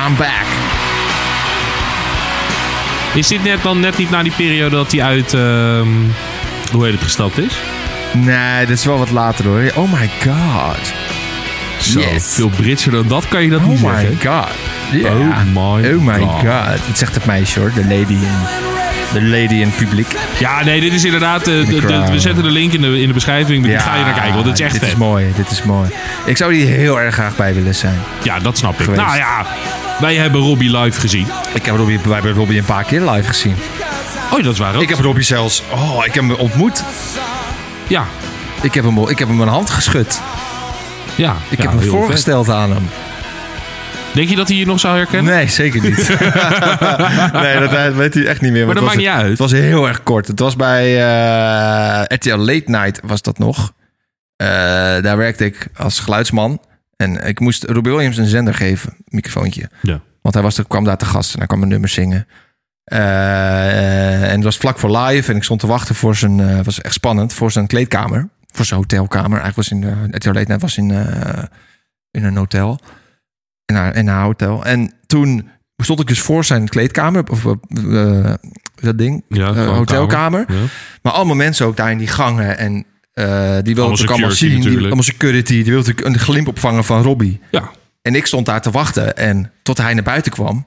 S1: I'm back.
S2: Is dit net dan net niet na die periode dat hij uit, ehm, hoe heet het, gestapt is?
S1: Nee, dit is wel wat later hoor. Oh my god.
S2: Zo,
S1: Yes.
S2: veel Britser dan dat kan je dat niet
S1: Oh
S2: zeggen.
S1: my god. Ja.
S2: Oh my
S1: oh my
S2: god.
S1: god. Dat zegt het meisje hoor. De lady in, de lady in het publiek.
S2: Ja, nee, dit is inderdaad, eh, de- de- we zetten de link in de, in de beschrijving. Daar ga je naar kijken, want het is echt
S1: dit
S2: vet.
S1: is mooi, dit is mooi. Ik zou hier heel erg graag bij willen zijn.
S2: Ja, dat snap ik.
S1: Geweest.
S2: Nou ja, wij hebben Robbie live gezien.
S1: Ik heb Robbie, wij hebben Robbie een paar keer live gezien.
S2: Oh, dat is waar ook.
S1: Ik heb Robbie zelfs... Oh, ik heb hem ontmoet.
S2: Ja.
S1: Ik heb hem, ik heb hem een hand geschud.
S2: Ja,
S1: Ik
S2: ja,
S1: heb me
S2: heel vet.
S1: voorgesteld aan hem.
S2: Denk je dat hij je nog zou herkennen?
S1: Nee, zeker niet. [laughs] nee, dat hij- weet hij echt niet meer.
S2: Maar dat
S1: want
S2: maakt
S1: het
S2: niet
S1: was-
S2: uit.
S1: Het was heel erg kort. Het was bij eh, RTL Late Night was dat nog. Eh, daar werkte ik als geluidsman. En ik moest Robbie Williams een zender geven, microfoontje.
S2: Ja.
S1: Want hij was, er- kwam daar te gast en hij kwam een nummer zingen. Eh, en het was vlak voor live. En ik stond te wachten voor zijn... eh, was echt spannend, voor zijn kleedkamer. Voor zijn hotelkamer. Eigenlijk was in... eh, RTL Late Night was in, eh, in een hotel. In haar, in haar hotel. En toen stond ik dus voor zijn kleedkamer. Of eh, eh, dat ding.
S2: Ja,
S1: Eh,
S2: gewoon
S1: hotelkamer.
S2: kamer. Ja.
S1: Maar allemaal mensen ook daar in die gangen. En eh, die wilden
S2: Allemaal
S1: natuurlijk allemaal
S2: security
S1: zien. Die,
S2: natuurlijk.
S1: allemaal security. Die wilden natuurlijk een glimp opvangen van Robbie.
S2: Ja.
S1: En ik stond daar te wachten. En tot hij naar buiten kwam.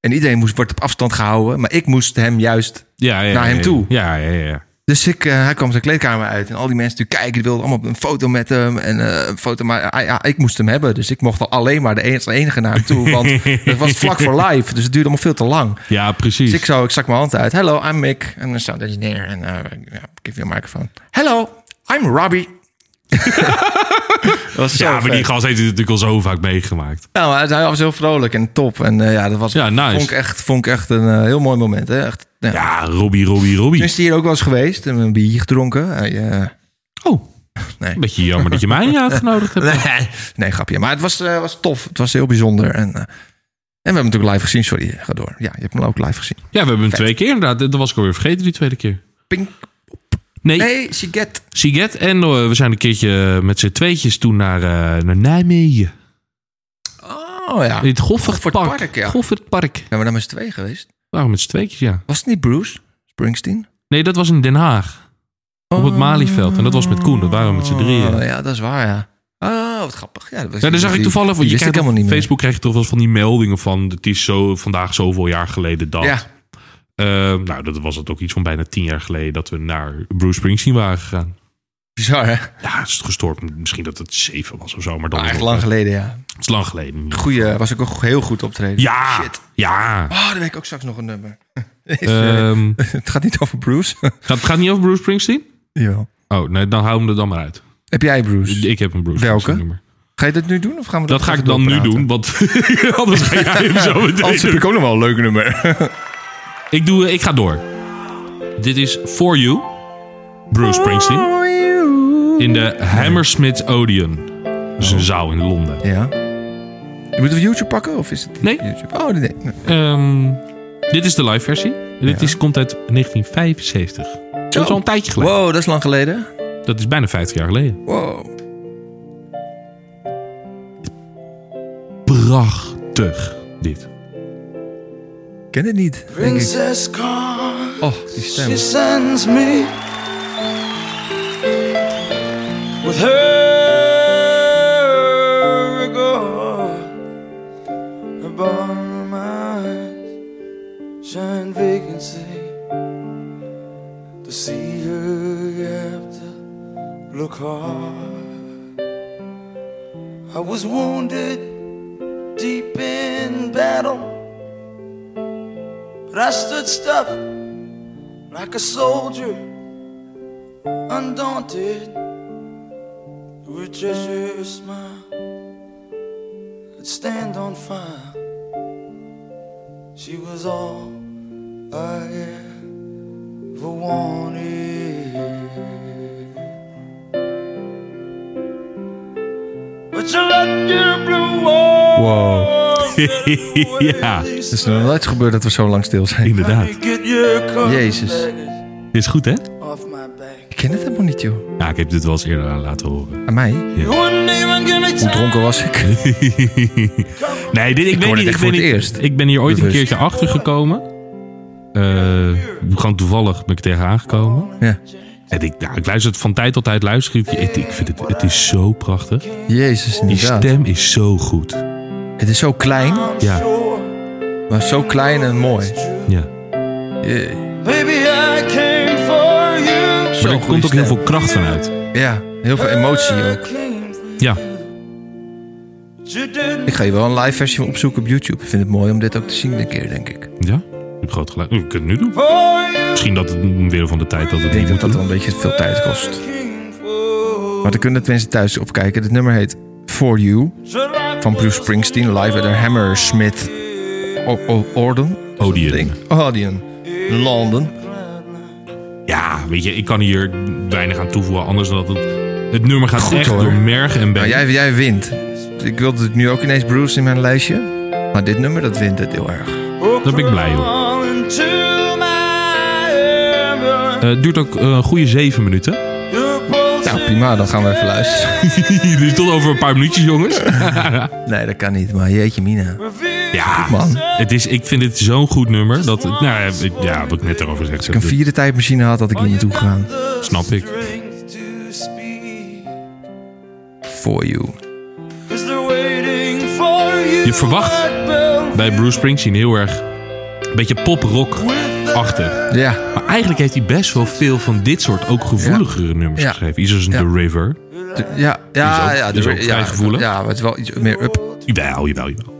S1: En iedereen moest, wordt op afstand gehouden. Maar ik moest hem juist...
S2: Ja, ja, ja,
S1: Naar hem
S2: ja.
S1: toe.
S2: Ja, ja, ja, ja.
S1: Dus ik, eh, hij kwam zijn kleedkamer uit. En al die mensen natuurlijk kijken. Die wilden allemaal een foto met hem. En eh, een foto. Maar hij- hij- ik moest hem hebben. Dus ik mocht al alleen maar de enige, als enige naar hem toe. Want
S2: [laughs]
S1: het was vlak voor live. Dus het duurde allemaal veel te lang.
S2: Ja, precies.
S1: Dus ik, zo, ik stak mijn hand uit. Hello, I'm Mick. I'm a sound engineer. En uh, give you a microphone. Hello, I'm Robbie. [laughs] dat was zo
S2: ja, maar
S1: vet.
S2: die gast heeft het natuurlijk al zo vaak meegemaakt.
S1: Nou, maar hij was heel vrolijk en top. En eh, ja, dat was,
S2: Ja, nice.
S1: vond, ik echt, vond ik echt een eh, heel mooi moment. Hè? Echt, ja.
S2: Ja, Robbie, Robbie,
S1: Toen
S2: Robbie.
S1: is hij hier ook wel eens geweest. en Een biertje gedronken. Hij, eh,
S2: Oh,
S1: nee.
S2: een beetje jammer dat je mij niet uitgenodigd
S1: [laughs]
S2: hebt.
S1: nee. nee, grapje. Maar het was, eh, was tof. Het was heel bijzonder. En, eh, en we hebben hem natuurlijk live gezien. Sorry, ga door. Ja, je hebt hem ook live gezien.
S2: Ja, we hebben hem twee keer inderdaad. Dat was ik alweer vergeten die tweede keer.
S1: Pink.
S2: Nee,
S1: Nee, Siget.
S2: Siget. En eh, we zijn een keertje met z'n tweetjes toen naar, eh, naar Nijmegen.
S1: Oh ja.
S2: In het Goffertpark.
S1: Goffertpark, ja.
S2: Goffertpark.
S1: Zijn we dan met z'n tweeën geweest?
S2: Waarom met z'n tweetjes, ja.
S1: Was het niet Bruce Springsteen?
S2: Nee, dat was in Den Haag. Op het Malieveld. En dat was met Koen. Dat waren we met z'n drieën.
S1: Oh, ja, dat is waar, ja. Oh, wat grappig. Ja, dat was-
S2: Ja, daar zag ik
S1: die-
S2: toevallig...
S1: die
S2: Want je
S1: wist ik
S2: krijgt op
S1: helemaal niet meer.
S2: Facebook krijg je toch wel eens van die meldingen van... Het is zo, vandaag zoveel jaar geleden dat.
S1: Ja,
S2: Ehm, nou, dat was het ook iets van bijna tien jaar geleden... dat we naar Bruce Springsteen waren gegaan.
S1: bizar, hè?
S2: Ja, het is gestoord. Misschien dat het zeven was of zo. Maar dan
S1: Ah,
S2: is
S1: echt
S2: het-
S1: lang geleden, ja.
S2: Het is lang geleden.
S1: Goeie, was ook een heel goed optreden.
S2: Ja,
S1: Shit.
S2: ja.
S1: Oh, daar weet ik ook straks nog een nummer. [laughs] eh,
S2: Ehm,
S1: Het gaat niet over Bruce. [laughs]
S2: [laughs] gaat, gaat het niet over Bruce Springsteen?
S1: Jawel.
S2: Oh, nee, dan hou hem er dan maar uit.
S1: Heb jij Bruce?
S2: Ik heb een Bruce
S1: Welke?
S2: Springsteen nummer.
S1: Ga je dat nu doen? Of gaan we
S2: Dat ga ik dan nu doen, want [laughs] anders ga jij hem
S1: [laughs]
S2: zo
S1: Anders heb
S2: meteen.
S1: ik ook nog wel een leuk nummer. [laughs]
S2: Ik, doe, eh, ik ga door. Dit is For You, Bruce Springsteen, in de Hammersmith Odeon. Dat is een zaal in Londen.
S1: Ja. Moeten we YouTube pakken? Of is het
S2: Nee.
S1: YouTube? Oh, nee. nee.
S2: Ehm, dit is de live versie. Dit is, komt uit 1975. Dat is al een tijdje geleden.
S1: Wow, dat is lang geleden.
S2: Dat is bijna 50 jaar geleden.
S1: Wow.
S2: Prachtig, dit. [laughs]
S1: Ik ken het niet, denk ik.
S5: Princess Gone,
S1: Oh, die stem.
S5: she sends me with her regard upon my eyes shine vacancy to see her you have to look hard. I was wounded deep in battle. But I stood stuff like a soldier, undaunted, with treasure smile that stand on fire. She was all I ever wanted. But you let your blue walls
S1: Wow.
S2: ja,
S1: Het is nog nooit gebeurd dat we zo lang stil zijn.
S2: inderdaad.
S5: get your colored
S1: Jezus.
S5: baggage
S2: Dit is goed, hè?
S5: off my back.
S1: Ik ken het helemaal niet, joh.
S2: Ja, ik heb dit wel eens eerder aan laten horen.
S1: Aan mij?
S5: You wouldn't even give me
S1: Hoe
S5: time.
S1: dronken was ik? [laughs]
S2: [laughs] nee, dit, ik,
S1: hoor dit
S2: weet
S1: echt
S2: niet. Ik
S1: voor
S2: ben,
S1: het
S2: niet-
S1: eerst.
S2: ik ben hier ooit
S1: Bewust.
S2: een keertje achter gekomen. Eh, gewoon toevallig ben ik tegen aangekomen.
S1: Ja.
S2: En ik, nou, ik luister het van tijd tot tijd luister ik. Ik, ik vind het, het is zo prachtig.
S1: Jezus,
S2: Die
S1: inderdaad.
S2: stem is zo goed.
S1: Het is zo klein,
S2: Ja,
S1: maar zo klein en mooi.
S2: ja.
S5: Baby, I came for you.
S2: Maar er
S1: goede
S2: komt ook heel
S1: stem.
S2: veel kracht vanuit.
S1: Ja, heel veel emotie ook.
S2: Ja,
S1: Ik ga je wel een live versie van opzoeken op YouTube. Ik vind het mooi om dit ook te zien een keer, denk ik. Ik
S2: ja. Ik heb groot gelijk. Oh, Ik kan het nu doen. Misschien dat het weer van de tijd dat het niet
S1: denk dat
S2: moet
S1: dat
S2: doen.
S1: wel een beetje veel tijd kost.
S5: Came for
S1: Maar daar kunnen mensen thuis op kijken. Het nummer heet For You van Bruce Springsteen live at the Hammersmith O- O- Orden.
S2: Odeon.
S1: Odeon. London.
S2: Ja, weet je, ik kan hier weinig aan toevoegen. Anders dan dat het... Het nummer gaat
S1: Goed,
S2: echt
S1: hoor.
S2: door merg en
S1: Nou,
S2: been.
S1: jij, jij wint. Ik wilde nu ook ineens Bruce in mijn lijstje. Maar dit nummer, dat wint het heel erg.
S2: Daar ben ik blij om. Eh, Het duurt ook eh, een goede zeven minuten. [laughs]
S1: Nou, prima. Dan gaan we even luisteren.
S2: dus tot over een paar minuutjes, jongens.
S1: [laughs] Nee, dat kan niet. Maar jeetje mina.
S2: Ja,
S1: Man.
S2: Het is, ik vind dit zo'n goed nummer. Dat, het- nou, ja, ik- ja, wat ik net erover zeg.
S1: Als ik een vierde tijdmachine had, had ik niet naartoe gegaan.
S2: Snap ik.
S1: For You.
S2: Je verwacht bij Bruce Springsteen heel erg een beetje pop-rock-achtig.
S1: Ja.
S2: Maar eigenlijk heeft hij best wel veel van dit soort ook gevoeligere nummers
S1: Ja.
S2: geschreven. Iets als
S1: Ja.
S2: The River.
S1: De- ja, ja,
S2: Die is ook-
S1: ja,
S2: die is
S1: de-
S2: ook vrij
S1: ja,
S2: gevoelig.
S1: Ja, maar het is wel iets meer up.
S2: Jawel, jawel, jawel.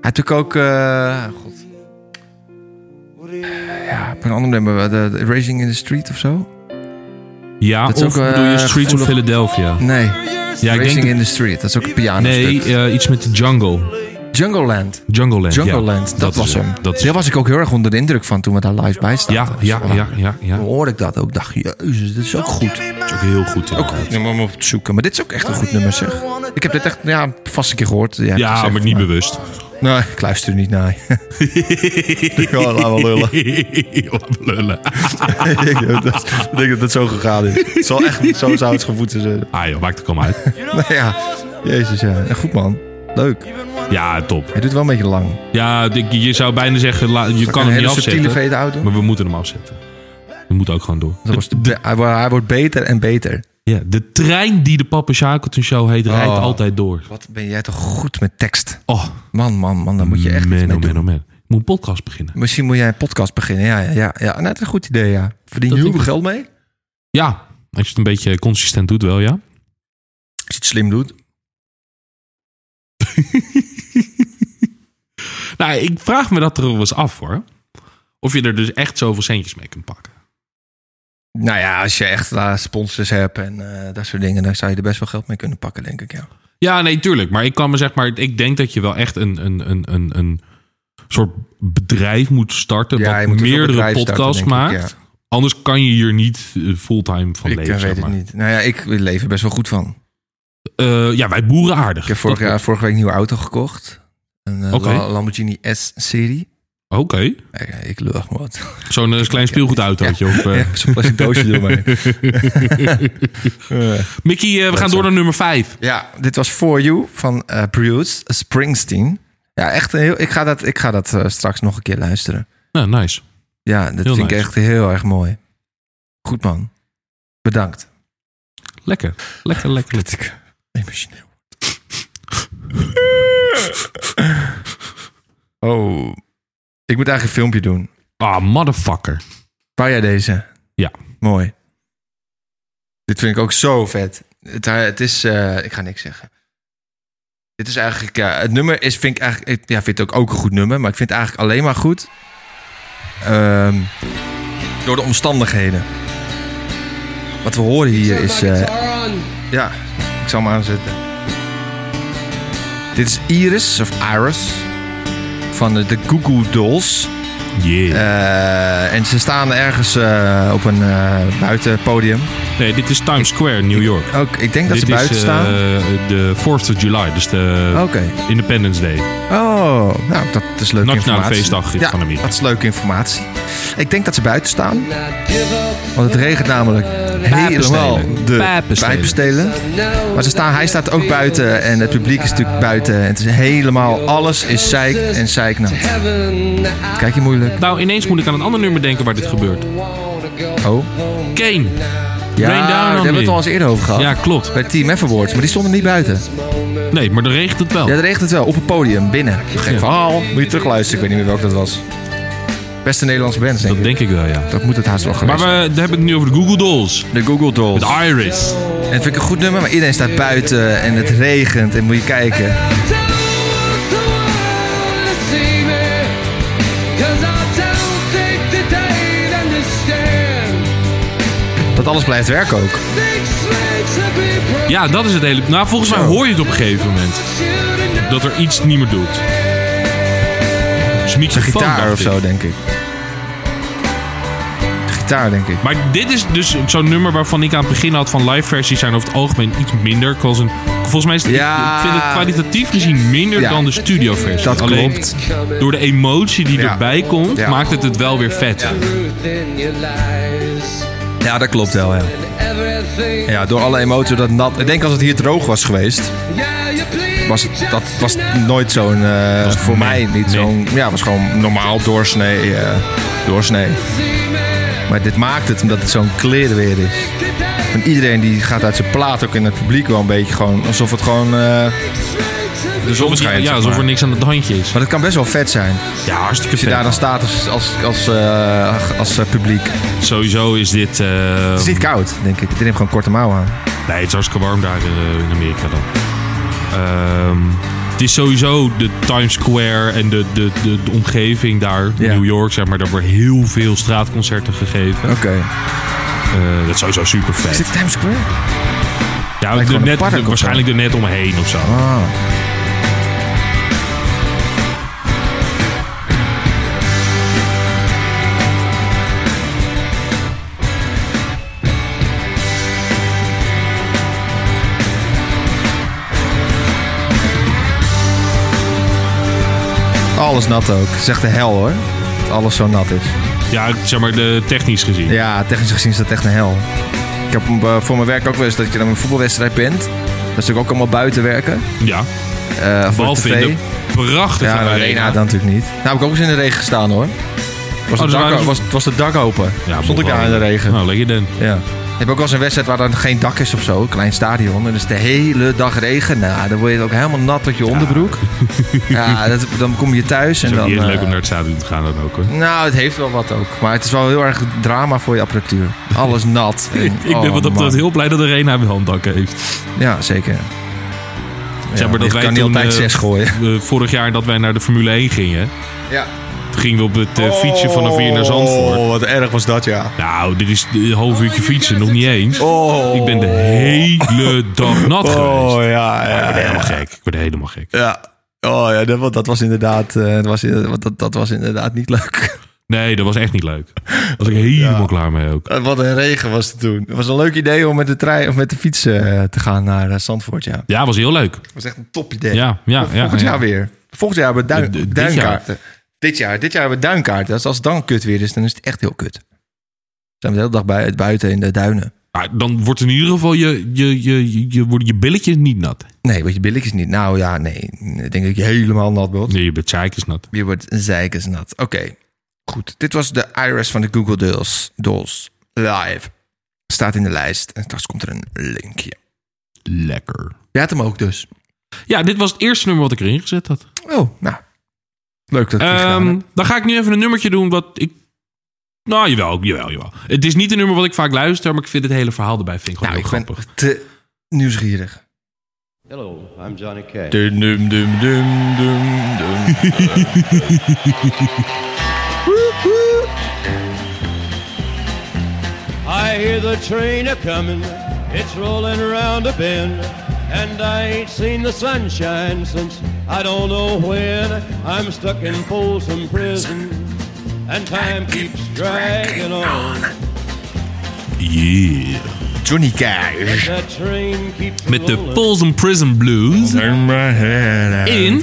S1: Hij had natuurlijk ook. eh, God. Ja, op een ander nummer, de, de Racing in the Street of zo?
S2: Ja,
S1: Dat is
S2: of
S1: ook, eh,
S2: bedoel je Streets of
S1: gevoelig.
S2: Philadelphia?
S1: Nee,
S2: Ja, ik
S1: Racing
S2: denk...
S1: in the Street, dat is ook een piano
S2: Nee,
S1: stuk.
S2: eh, iets met de jungle.
S1: Jungle Land.
S2: Jungle Land,
S1: Jungle
S2: ja.
S1: Land, dat,
S2: is
S1: was hem.
S2: Dat is
S1: Daar was ik ook heel erg onder de indruk van toen we daar live bij staan.
S2: Ja, ja, ja, ja, ja.
S1: Toen hoorde ik dat ook. dacht, jezus, dit is ook goed.
S2: Dat is ook heel goed.
S1: Ook
S2: inderdaad.
S1: goed nummer om op te zoeken. Maar dit is ook echt een goed nummer, zeg. Ik heb dit echt [laughs] ja, vast een keer gehoord. Ja,
S2: Ja,
S1: gezegd,
S2: maar niet bewust.
S1: Nee, ik luister er niet
S2: [laughs]
S1: naar. ik kan [laughs] laat wel lullen.
S2: Wat Lullen.
S1: ik denk dat- ik denk dat het zo gegaan is. Het zal echt niet zo zou het gevoed zijn.
S2: Ah joh, maakt het allemaal uit.
S1: Nou ja, jezus ja. Ja, Goed man. Leuk.
S2: Ja, top.
S1: Hij doet wel een beetje lang.
S2: Ja, ik- je zou bijna zeggen, la- je
S1: Ik
S2: kan
S1: een
S2: hem niet
S1: hele subtiele
S2: afzetten.
S1: fade-out doen.
S2: Maar we moeten hem afzetten. We moeten ook gewoon door.
S1: Dat was de- hij, wo- hij wordt beter en beter.
S2: Ja, de trein die de Papa Shackleton Show heet, rijdt
S1: Oh.
S2: altijd door.
S1: Wat ben jij toch goed met tekst.
S2: Oh,
S1: Man, man, man. Daar moet je echt iets
S2: man,
S1: mee
S2: oh
S1: doen.
S2: man, oh man. Ik moet een podcast beginnen.
S1: Misschien moet jij een podcast beginnen. Ja, ja, ja. ja. Nou, dat is een goed idee, ja. Verdien je
S2: Dat
S1: heel veel
S2: ik-
S1: geld mee.
S2: Ja, als je het een beetje consistent doet wel, ja.
S1: Als je het slim doet.
S2: Nou, ik vraag me dat er wel eens af hoor. Of je er dus echt zoveel centjes mee kunt pakken.
S1: Nou ja, als je echt daar sponsors hebt en eh, dat soort dingen... dan zou je er best wel geld mee kunnen pakken, denk ik, ja.
S2: Ja, nee, tuurlijk. Maar ik kan me zeg maar, ik denk dat je wel echt een, een, een, een, een soort bedrijf moet starten.
S1: ja
S2: dat
S1: een soort
S2: meerdere
S1: bedrijf starten,
S2: podcasts
S1: denk ik,
S2: maakt.
S1: ja.
S2: Anders kan je hier niet eh, fulltime van
S1: Ik eh,
S2: leven.
S1: weet
S2: zeg
S1: het
S2: maar.
S1: niet. Nou ja, ik leef er best wel goed van.
S2: Eh, ja, wij boeren aardig.
S1: Ik heb vorig
S2: Dat-
S1: jaar, vorige week een nieuwe auto gekocht. Een eh,
S2: Oké.
S1: La- Lamborghini S-serie.
S2: Oké,
S1: Ik, ik lul maar wat.
S2: zo'n eh, klein speelgoedautootje. Of, eh,
S1: [laughs] Ja, Zo'n plastic doosje door [laughs]
S2: [laughs]
S1: mij.
S2: Mickey, eh, we gaan door naar nummer 5.
S1: Ja, dit was For You van eh, Bruce Springsteen. Ja, echt een heel... Ik ga dat, ik ga dat eh, straks nog een keer luisteren.
S2: Nou, nice.
S1: Ja, dat
S2: Heel
S1: vind ik
S2: nice.
S1: echt heel erg mooi. Goed man. Bedankt.
S2: Lekker. Lekker, lekker.
S1: [laughs]
S2: lekker.
S1: ik emotioneel Oh. Ik moet eigenlijk een filmpje doen.
S2: Ah, motherfucker.
S1: Wou jij deze?
S2: Ja.
S1: Mooi. Dit vind ik ook zo vet. Het, eh, het is... eh, ik ga niks zeggen. Dit is eigenlijk... Ja, het nummer is, vind ik eigenlijk... Ik ja, vind het ook, ook een goed nummer. Maar ik vind het eigenlijk alleen maar goed... ehm, door de omstandigheden. Wat we horen hier is... eh, ja, ik zal hem aanzetten. Dit is Iris, of Iris... van de, de Goo Goo Dolls...
S2: Yeah.
S1: Eh, en ze staan ergens eh, op een eh, buitenpodium.
S2: nee, dit is Times Square, New York.
S1: Ook, ik denk dat
S2: dit
S1: ze buiten
S2: is eh,
S1: staan.
S2: de 4th of July, dus de
S1: Oké.
S2: Independence Day.
S1: Oh, nou, dat is leuke
S2: Nationale
S1: informatie.
S2: feestdag
S1: ja,
S2: van Amerika.
S1: dat is leuke informatie. Ik denk dat ze buiten staan. Want het regent namelijk helemaal de
S2: Pijpenstelen.
S1: pijpenstelen. Maar ze staan, hij staat ook buiten en het publiek is natuurlijk buiten. En het is helemaal, alles is zeik en zeiknat. Kijk je moeilijk.
S2: Nou, ineens moet ik aan een ander nummer denken waar dit gebeurt.
S1: Oh.
S2: Kane.
S1: Ja,
S2: Rain down on
S1: daar hebben we
S2: me.
S1: het al eens eerder over gehad.
S2: Ja, klopt.
S1: Bij Team F Awards, maar die stonden niet buiten.
S2: Nee, maar dan regent het wel.
S1: Ja, dat regent het wel. Op het podium, binnen. Gek verhaal. Moet je terugluisteren. Ik weet niet meer welke dat was. Beste Nederlandse band, denk
S2: dat
S1: ik.
S2: denk ik wel, ja.
S1: Dat moet het haast wel
S2: Maar
S1: geweest
S2: we, daar hebben we het nu over de Google Dolls.
S1: zijn. De Google Dolls.
S2: Met Iris.
S1: En dat vind ik een goed nummer, maar iedereen staat buiten en het regent en moet je kijken. Dat alles blijft werken ook.
S2: Ja, dat is het hele... Nou, volgens mij hoor je het op een gegeven moment. Dat er iets niet meer doet. Dus
S1: De
S2: microfoon, dacht
S1: gitaar of
S2: ik.
S1: zo, denk ik. De gitaar, denk ik.
S2: Maar dit is dus zo'n nummer waarvan ik aan het begin had van live versies zijn over het algemeen iets minder. Ik was een- Volgens mij is het,
S1: Ja.
S2: ik vind het kwalitatief gezien minder
S1: Ja.
S2: dan de studioversie.
S1: Dat
S2: Alleen
S1: klopt.
S2: door de emotie die
S1: Ja.
S2: erbij komt,
S1: Ja.
S2: maakt het het wel weer vet.
S1: Ja, dat klopt wel, ja. Ja, door alle emotie dat nat. Ik denk als het hier droog was geweest, was het, dat was nooit zo'n. eh, voor mij niet
S2: nee.
S1: zo'n. Ja, was gewoon normaal doorsnee. eh, doorsnee. Maar dit maakt het omdat het zo'n kleren weer is. En iedereen die gaat uit zijn plaat ook in het publiek wel een beetje gewoon. Alsof het gewoon. eh,
S2: De zon
S1: schijnt,
S2: Ja,
S1: zeg
S2: Dus alsof er
S1: maar.
S2: niks aan het handje is. Dus
S1: maar het kan best wel vet zijn.
S2: Ja, hartstikke
S1: Als je
S2: vet.
S1: daar dan staat als, als, als, eh, als eh, publiek. Het
S2: Sowieso is dit... eh,
S1: is niet koud, denk ik. Dit heeft gewoon korte mouwen aan.
S2: Nee, het is hartstikke warm daar eh, in Amerika dan. Ehm, het is sowieso de Times Square en de, de, de, de omgeving daar,
S1: Ja.
S2: New York zeg maar, daar worden heel veel straatconcerten gegeven.
S1: Oké.
S2: Eh, dat is sowieso super
S1: Is
S2: vet.
S1: dit Times Square?
S2: Ja,
S1: lijkt
S2: er
S1: gewoon
S2: net,
S1: een park of
S2: waarschijnlijk er net omheen of zo.
S1: Ah. Alles nat ook. Het is echt de hel hoor. Dat alles zo nat is.
S2: Ja, zeg maar de, technisch gezien.
S1: Ja, technisch gezien is dat echt een hel. Ik heb eh, voor mijn werk ook wel eens dat je dan een voetbalwedstrijd bent. Dat is natuurlijk ook allemaal buiten werken.
S2: Ja.
S1: Eh voor
S2: Behalve
S1: tv.
S2: in de prachtige
S1: Ja, de
S2: arena.
S1: arena, dan natuurlijk niet. Nou, heb ik ook eens in de regen gestaan hoor. Was,
S2: Oh,
S1: het
S2: dus
S1: dak,
S2: waren-
S1: was, was het dak open?
S2: Ja,
S1: Stond ik
S2: wel.
S1: daar in de regen.
S2: Nou, lekker dan.
S1: Ja. Ik heb ook wel eens een wedstrijd waar dan geen dak is of zo. Een klein stadion. En dan is de hele dag regen. Nou, dan word je ook helemaal nat tot je
S2: [laughs]
S1: onderbroek. Ja, dat, dan kom je thuis. En
S2: Het is ook
S1: dan,
S2: niet
S1: eh,
S2: leuk om naar het stadion te gaan dan
S1: [laughs]
S2: ook hoor.
S1: Nou, het heeft wel wat ook. Maar het is wel heel erg drama voor je apparatuur. Alles
S2: [laughs]
S1: nat. En-
S2: Ik
S1: oh,
S2: ben wat dat
S1: man.
S2: heel blij dat de arena een handdak heeft.
S1: Ja, zeker.
S2: Zeg maar dat
S1: ik
S2: wij
S1: kan niet
S2: toen,
S1: altijd
S2: eh,
S1: zes gooien.
S2: Eh, vorig jaar dat wij naar de Formule 1 gingen,
S1: Ja.
S2: toen gingen we op het eh, fietsje vanaf hier naar Zandvoort.
S1: Oh, wat erg was dat, ja.
S2: Nou, dit is een half uurtje fietsen, nog niet eens.
S1: Oh.
S2: Ik ben de hele dag nat geweest.
S1: Oh, ja,
S2: Ik word
S1: ja.
S2: helemaal gek. Ik word helemaal gek.
S1: ja. Oh ja, dat, wa- dat was inderdaad, eh, dat, was, in- want dat, dat was inderdaad niet leuk. [laughs]
S2: Nee, dat was echt niet leuk. Daar was ik helemaal klaar mee ook.
S1: Wat een regen was het toen. Het was een leuk idee om met de trein of met de fiets eh, te gaan naar eh, Zandvoort. Ja.
S2: Ja, was heel leuk.
S1: Dat was echt een top idee.
S2: Ja, ja, ja.
S1: Volgend
S2: ja.
S1: jaar weer. Volgend jaar hebben we duin-
S2: D- d- dit
S1: duinkaarten. Dit jaar. Dit jaar hebben we duinkaarten. Dus als het dan kut weer is, dan is het echt heel kut. Zijn we de hele dag bij, buiten in de duinen.
S2: Maar dan wordt in ieder geval je, je, je, je, je, worden je billetjes niet nat.
S1: Nee, want je billetjes niet. Nou ja, nee. Ik denk dat je helemaal nat wordt.
S2: Nee, je bent zeikers nat.
S1: Je wordt zeikersnat. Oké, goed. Dit was de Iris van de Google Dolls. Dolls live. Staat in de lijst. En straks komt er een linkje.
S2: Lekker.
S1: Je had hem ook dus.
S2: Ja, dit was het eerste nummer wat ik erin gezet had.
S1: Oh, nou. Leuk dat ik het gedaan
S2: Ehm,
S1: heb.
S2: dan ga ik nu even een nummertje doen wat ik... Nou, jawel, jawel, jawel. Het is niet een nummer wat ik vaak luister, maar ik vind het hele verhaal erbij vind ik gewoon
S1: Nou, ik
S2: heel
S1: ben
S2: grappig.
S1: te nieuwsgierig.
S5: Hello, I'm Johnny Cash.
S1: Dum, dum, dum, dum, dum, dum.
S5: I hear the train a coming, it's rolling around a bend, and I ain't seen the sunshine since I don't know when. I'm stuck in Folsom Prison, and time keeps dragging on.
S2: Yeah.
S1: Johnny Cash.
S5: That train keeps
S2: Met de
S5: rolling.
S2: Folsom Prison Blues. In?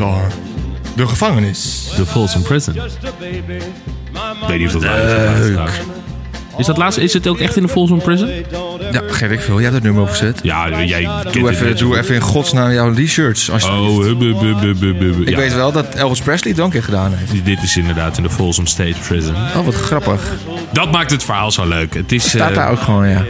S1: De gevangenis.
S2: De Folsom Prison. Ik
S5: Just a baby. My
S2: weet niet of dat
S5: mama
S2: laatste
S5: said,
S2: is. trouwens. Is dat laatste, is het ook echt in de Folsom Prison?
S5: "Don't
S1: Ja,
S5: ever
S1: geef ik veel. Jij hebt het nummer opgezet.
S2: Ja, jij kent
S1: Doe
S2: dit
S1: even,
S2: niet.
S1: doe even in godsnaam jouw t-shirts. als je-
S2: Oh, hub, hub, hub, hub, hub, hub.
S1: Ik
S2: Ja,
S1: weet wel dat Elvis Presley het dan een keer gedaan heeft.
S2: Dit is inderdaad in de Folsom State Prison.
S1: Oh, wat grappig.
S2: Dat maakt het verhaal zo leuk. Het is, eh,
S1: Staat daar ook gewoon, ja.
S2: ja,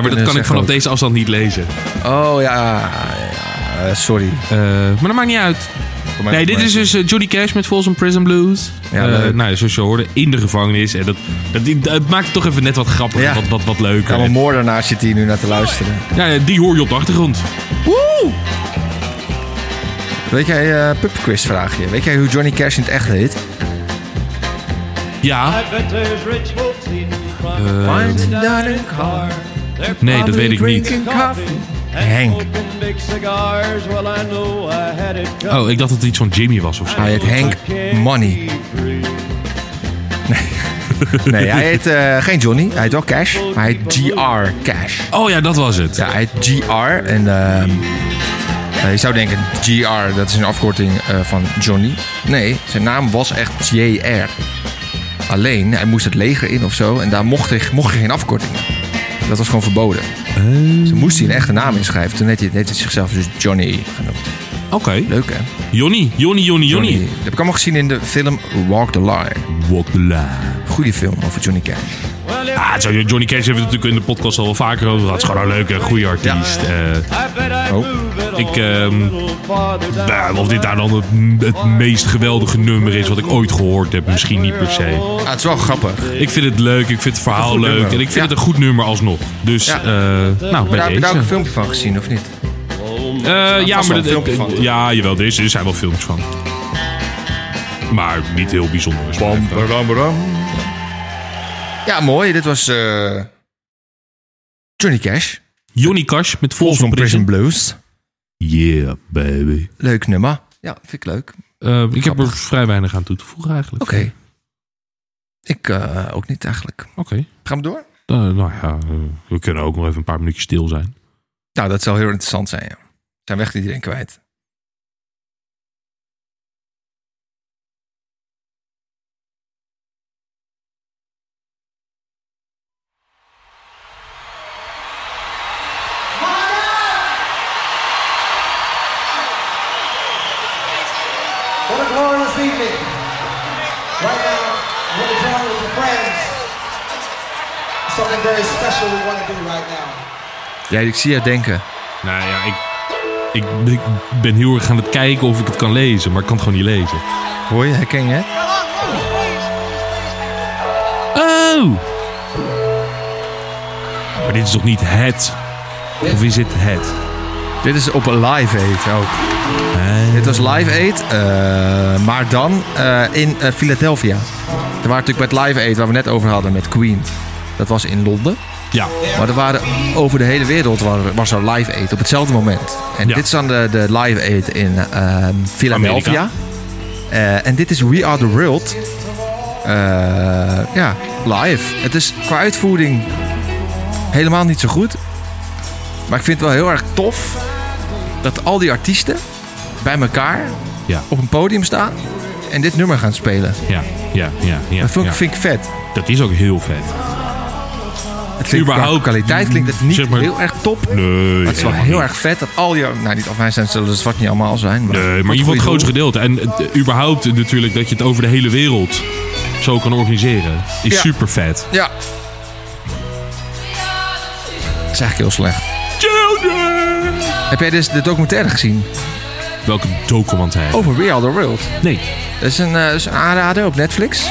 S2: maar dat kan ik vanaf deze afstand niet lezen.
S1: Oh ja, ja, eh, sorry.
S2: Eh, maar dat maakt niet uit.
S1: Voor mij-
S2: Nee, dit
S1: voor
S2: is
S1: mij-
S2: dus eh, Johnny Cash met Folsom Prison Blues.
S1: Ja,
S2: Eh,
S1: leuk.
S2: nou, zoals je hoorde, in de gevangenis. En dat, dat, die- dat maakt het toch even net wat grappiger,
S1: Ja.
S2: wat, wat, wat leuker.
S1: Ja, mijn moordenaar zit hier nu naar te luisteren.
S2: Ja, ja, die hoor je op de achtergrond.
S1: Weet jij, eh pubquiz vraagje. Weet jij hoe Johnny Cash in het echt heet?
S2: Ja.
S5: I bet there's rich folks eating from
S1: Wines and dining
S5: car. They're
S2: Nee, dat weet ik niet.
S1: Drinking coffee. Henk.
S5: Henk. Big cigars. Well, I know I had it coming.
S2: Oh, ik dacht dat het iets van Jimmy was of zo.
S1: Hij heet Henk Money.
S2: [laughs]
S1: Nee, hij heet eh, geen Johnny. Hij heet wel Cash. maar Hij heet GR Cash.
S2: Oh ja, dat was het.
S1: Ja, hij heet GR. En ehm, eh, je zou denken, GR, dat is een afkorting eh, van Johnny. Nee, zijn naam was echt JR. Alleen, hij moest het leger in of zo. En daar mocht hij, mocht hij geen afkortingen. Dat was gewoon verboden. Dus toen moest hij een echte naam inschrijven. Toen heeft hij, heeft hij zichzelf dus Johnny genoemd.
S2: Oké.
S1: Leuk, hè?
S2: Jonny, Jonny, Jonny, Jonny.
S1: Dat heb ik allemaal gezien in de film Walk the Line.
S2: Walk the line.
S1: Goede film over Johnny Cash.
S5: Well, if
S2: Ah, zo, Johnny Cash heeft het natuurlijk in de podcast al wel vaker over gehad. Het is gewoon een leuke, goede artiest. Eh,
S5: I bet
S1: Oh.
S5: I move it
S2: Ik,
S5: on a
S2: ehm,
S5: little farther down
S2: nou, of
S5: the
S2: dit daar
S5: line.
S2: dan het, het meest geweldige nummer is wat ik ooit gehoord heb, misschien niet per se.
S1: Ah, het is wel grappig.
S2: Ik vind het leuk, ik vind het verhaal
S1: Een goed
S2: leuk
S1: nummer.
S2: en ik vind
S1: Ja.
S2: het een goed nummer alsnog. Dus,
S1: Ja.
S2: eh, nou, bij
S1: Daar heb
S2: deze.
S1: je daar ook een filmpje van gezien, of niet?
S2: Eh, ja,
S1: vast wel
S2: maar
S1: een
S2: dat-
S1: filmpje van.
S2: ja, jawel, er is- er zijn wel films van. Maar niet heel bijzonder. Dus is maar even-
S1: Ja, mooi. Dit was eh, Johnny Cash.
S2: Johnny Cash met Folsom
S1: Folsom Prison
S2: Prison.
S1: Blues.
S2: Yeah, baby.
S1: Leuk nummer. Ja, vind ik leuk.
S2: Eh, ik heb er vrij weinig aan toe te voegen eigenlijk.
S1: Oké. Ik eh, ook niet eigenlijk.
S2: Oké.
S1: Gaan we door?
S2: Eh, nou ja, eh, we kunnen ook nog even een paar minuutjes stil zijn.
S1: Nou, dat zou heel interessant zijn, ja. Zijn weg iedereen kwijt.
S6: What a glorious evening. Right now, we're going to join with the friends. Something very special we want to do right now.
S1: Ja, ik zie jou denken.
S2: Nou ja, ik, ik, ik ben heel erg aan het kijken of ik het kan lezen, maar ik kan het gewoon niet lezen.
S1: Hoor je, herken je het?
S2: Oh! Maar dit is toch niet het? Of is het het?
S1: Dit is op een Live Aid ook. Dit was Live Aid, eh, maar dan eh, in eh, Philadelphia. Er waren natuurlijk bij het Live Aid, waar we net over hadden met Queen. Dat was in Londen.
S2: Ja.
S1: Maar er waren over de hele wereld waren- was er live aid op hetzelfde moment. En
S2: Ja.
S1: dit is dan de, de live aid in ehm, Philadelphia.
S2: Amerika.
S1: Eh, en dit is We Are The World. Eh, ja, live. Het is qua uitvoering helemaal niet zo goed. Maar ik vind het wel heel erg tof dat al die artiesten bij elkaar
S2: Ja.
S1: op een podium staan en dit nummer gaan spelen.
S2: Ja, ja, ja. ja,
S1: dat vind, ik-
S2: ja.
S1: vind ik vet.
S2: Dat is ook heel vet.
S1: Het klinkt qua
S2: Überhaupt,
S1: kwaliteit klinkt het niet
S2: zeg maar-
S1: heel erg top.
S2: Nee,
S1: Maar het is wel heel erg vet dat al die... Nou, niet, of wij zijn, zullen het zwart niet allemaal zijn. Maar,
S2: Nee, maar in ieder geval het grootste gedeelte. En het- überhaupt natuurlijk dat je het over de hele wereld zo kan organiseren. Is
S1: Ja.
S2: super vet.
S1: Ja. Dat is eigenlijk heel slecht.
S2: Children!
S1: Heb jij dus de documentaire gezien
S2: Welke documentaire?
S1: over We Are The World?
S2: nee.
S1: Dat is een, eh, dat is een aanrader op Netflix.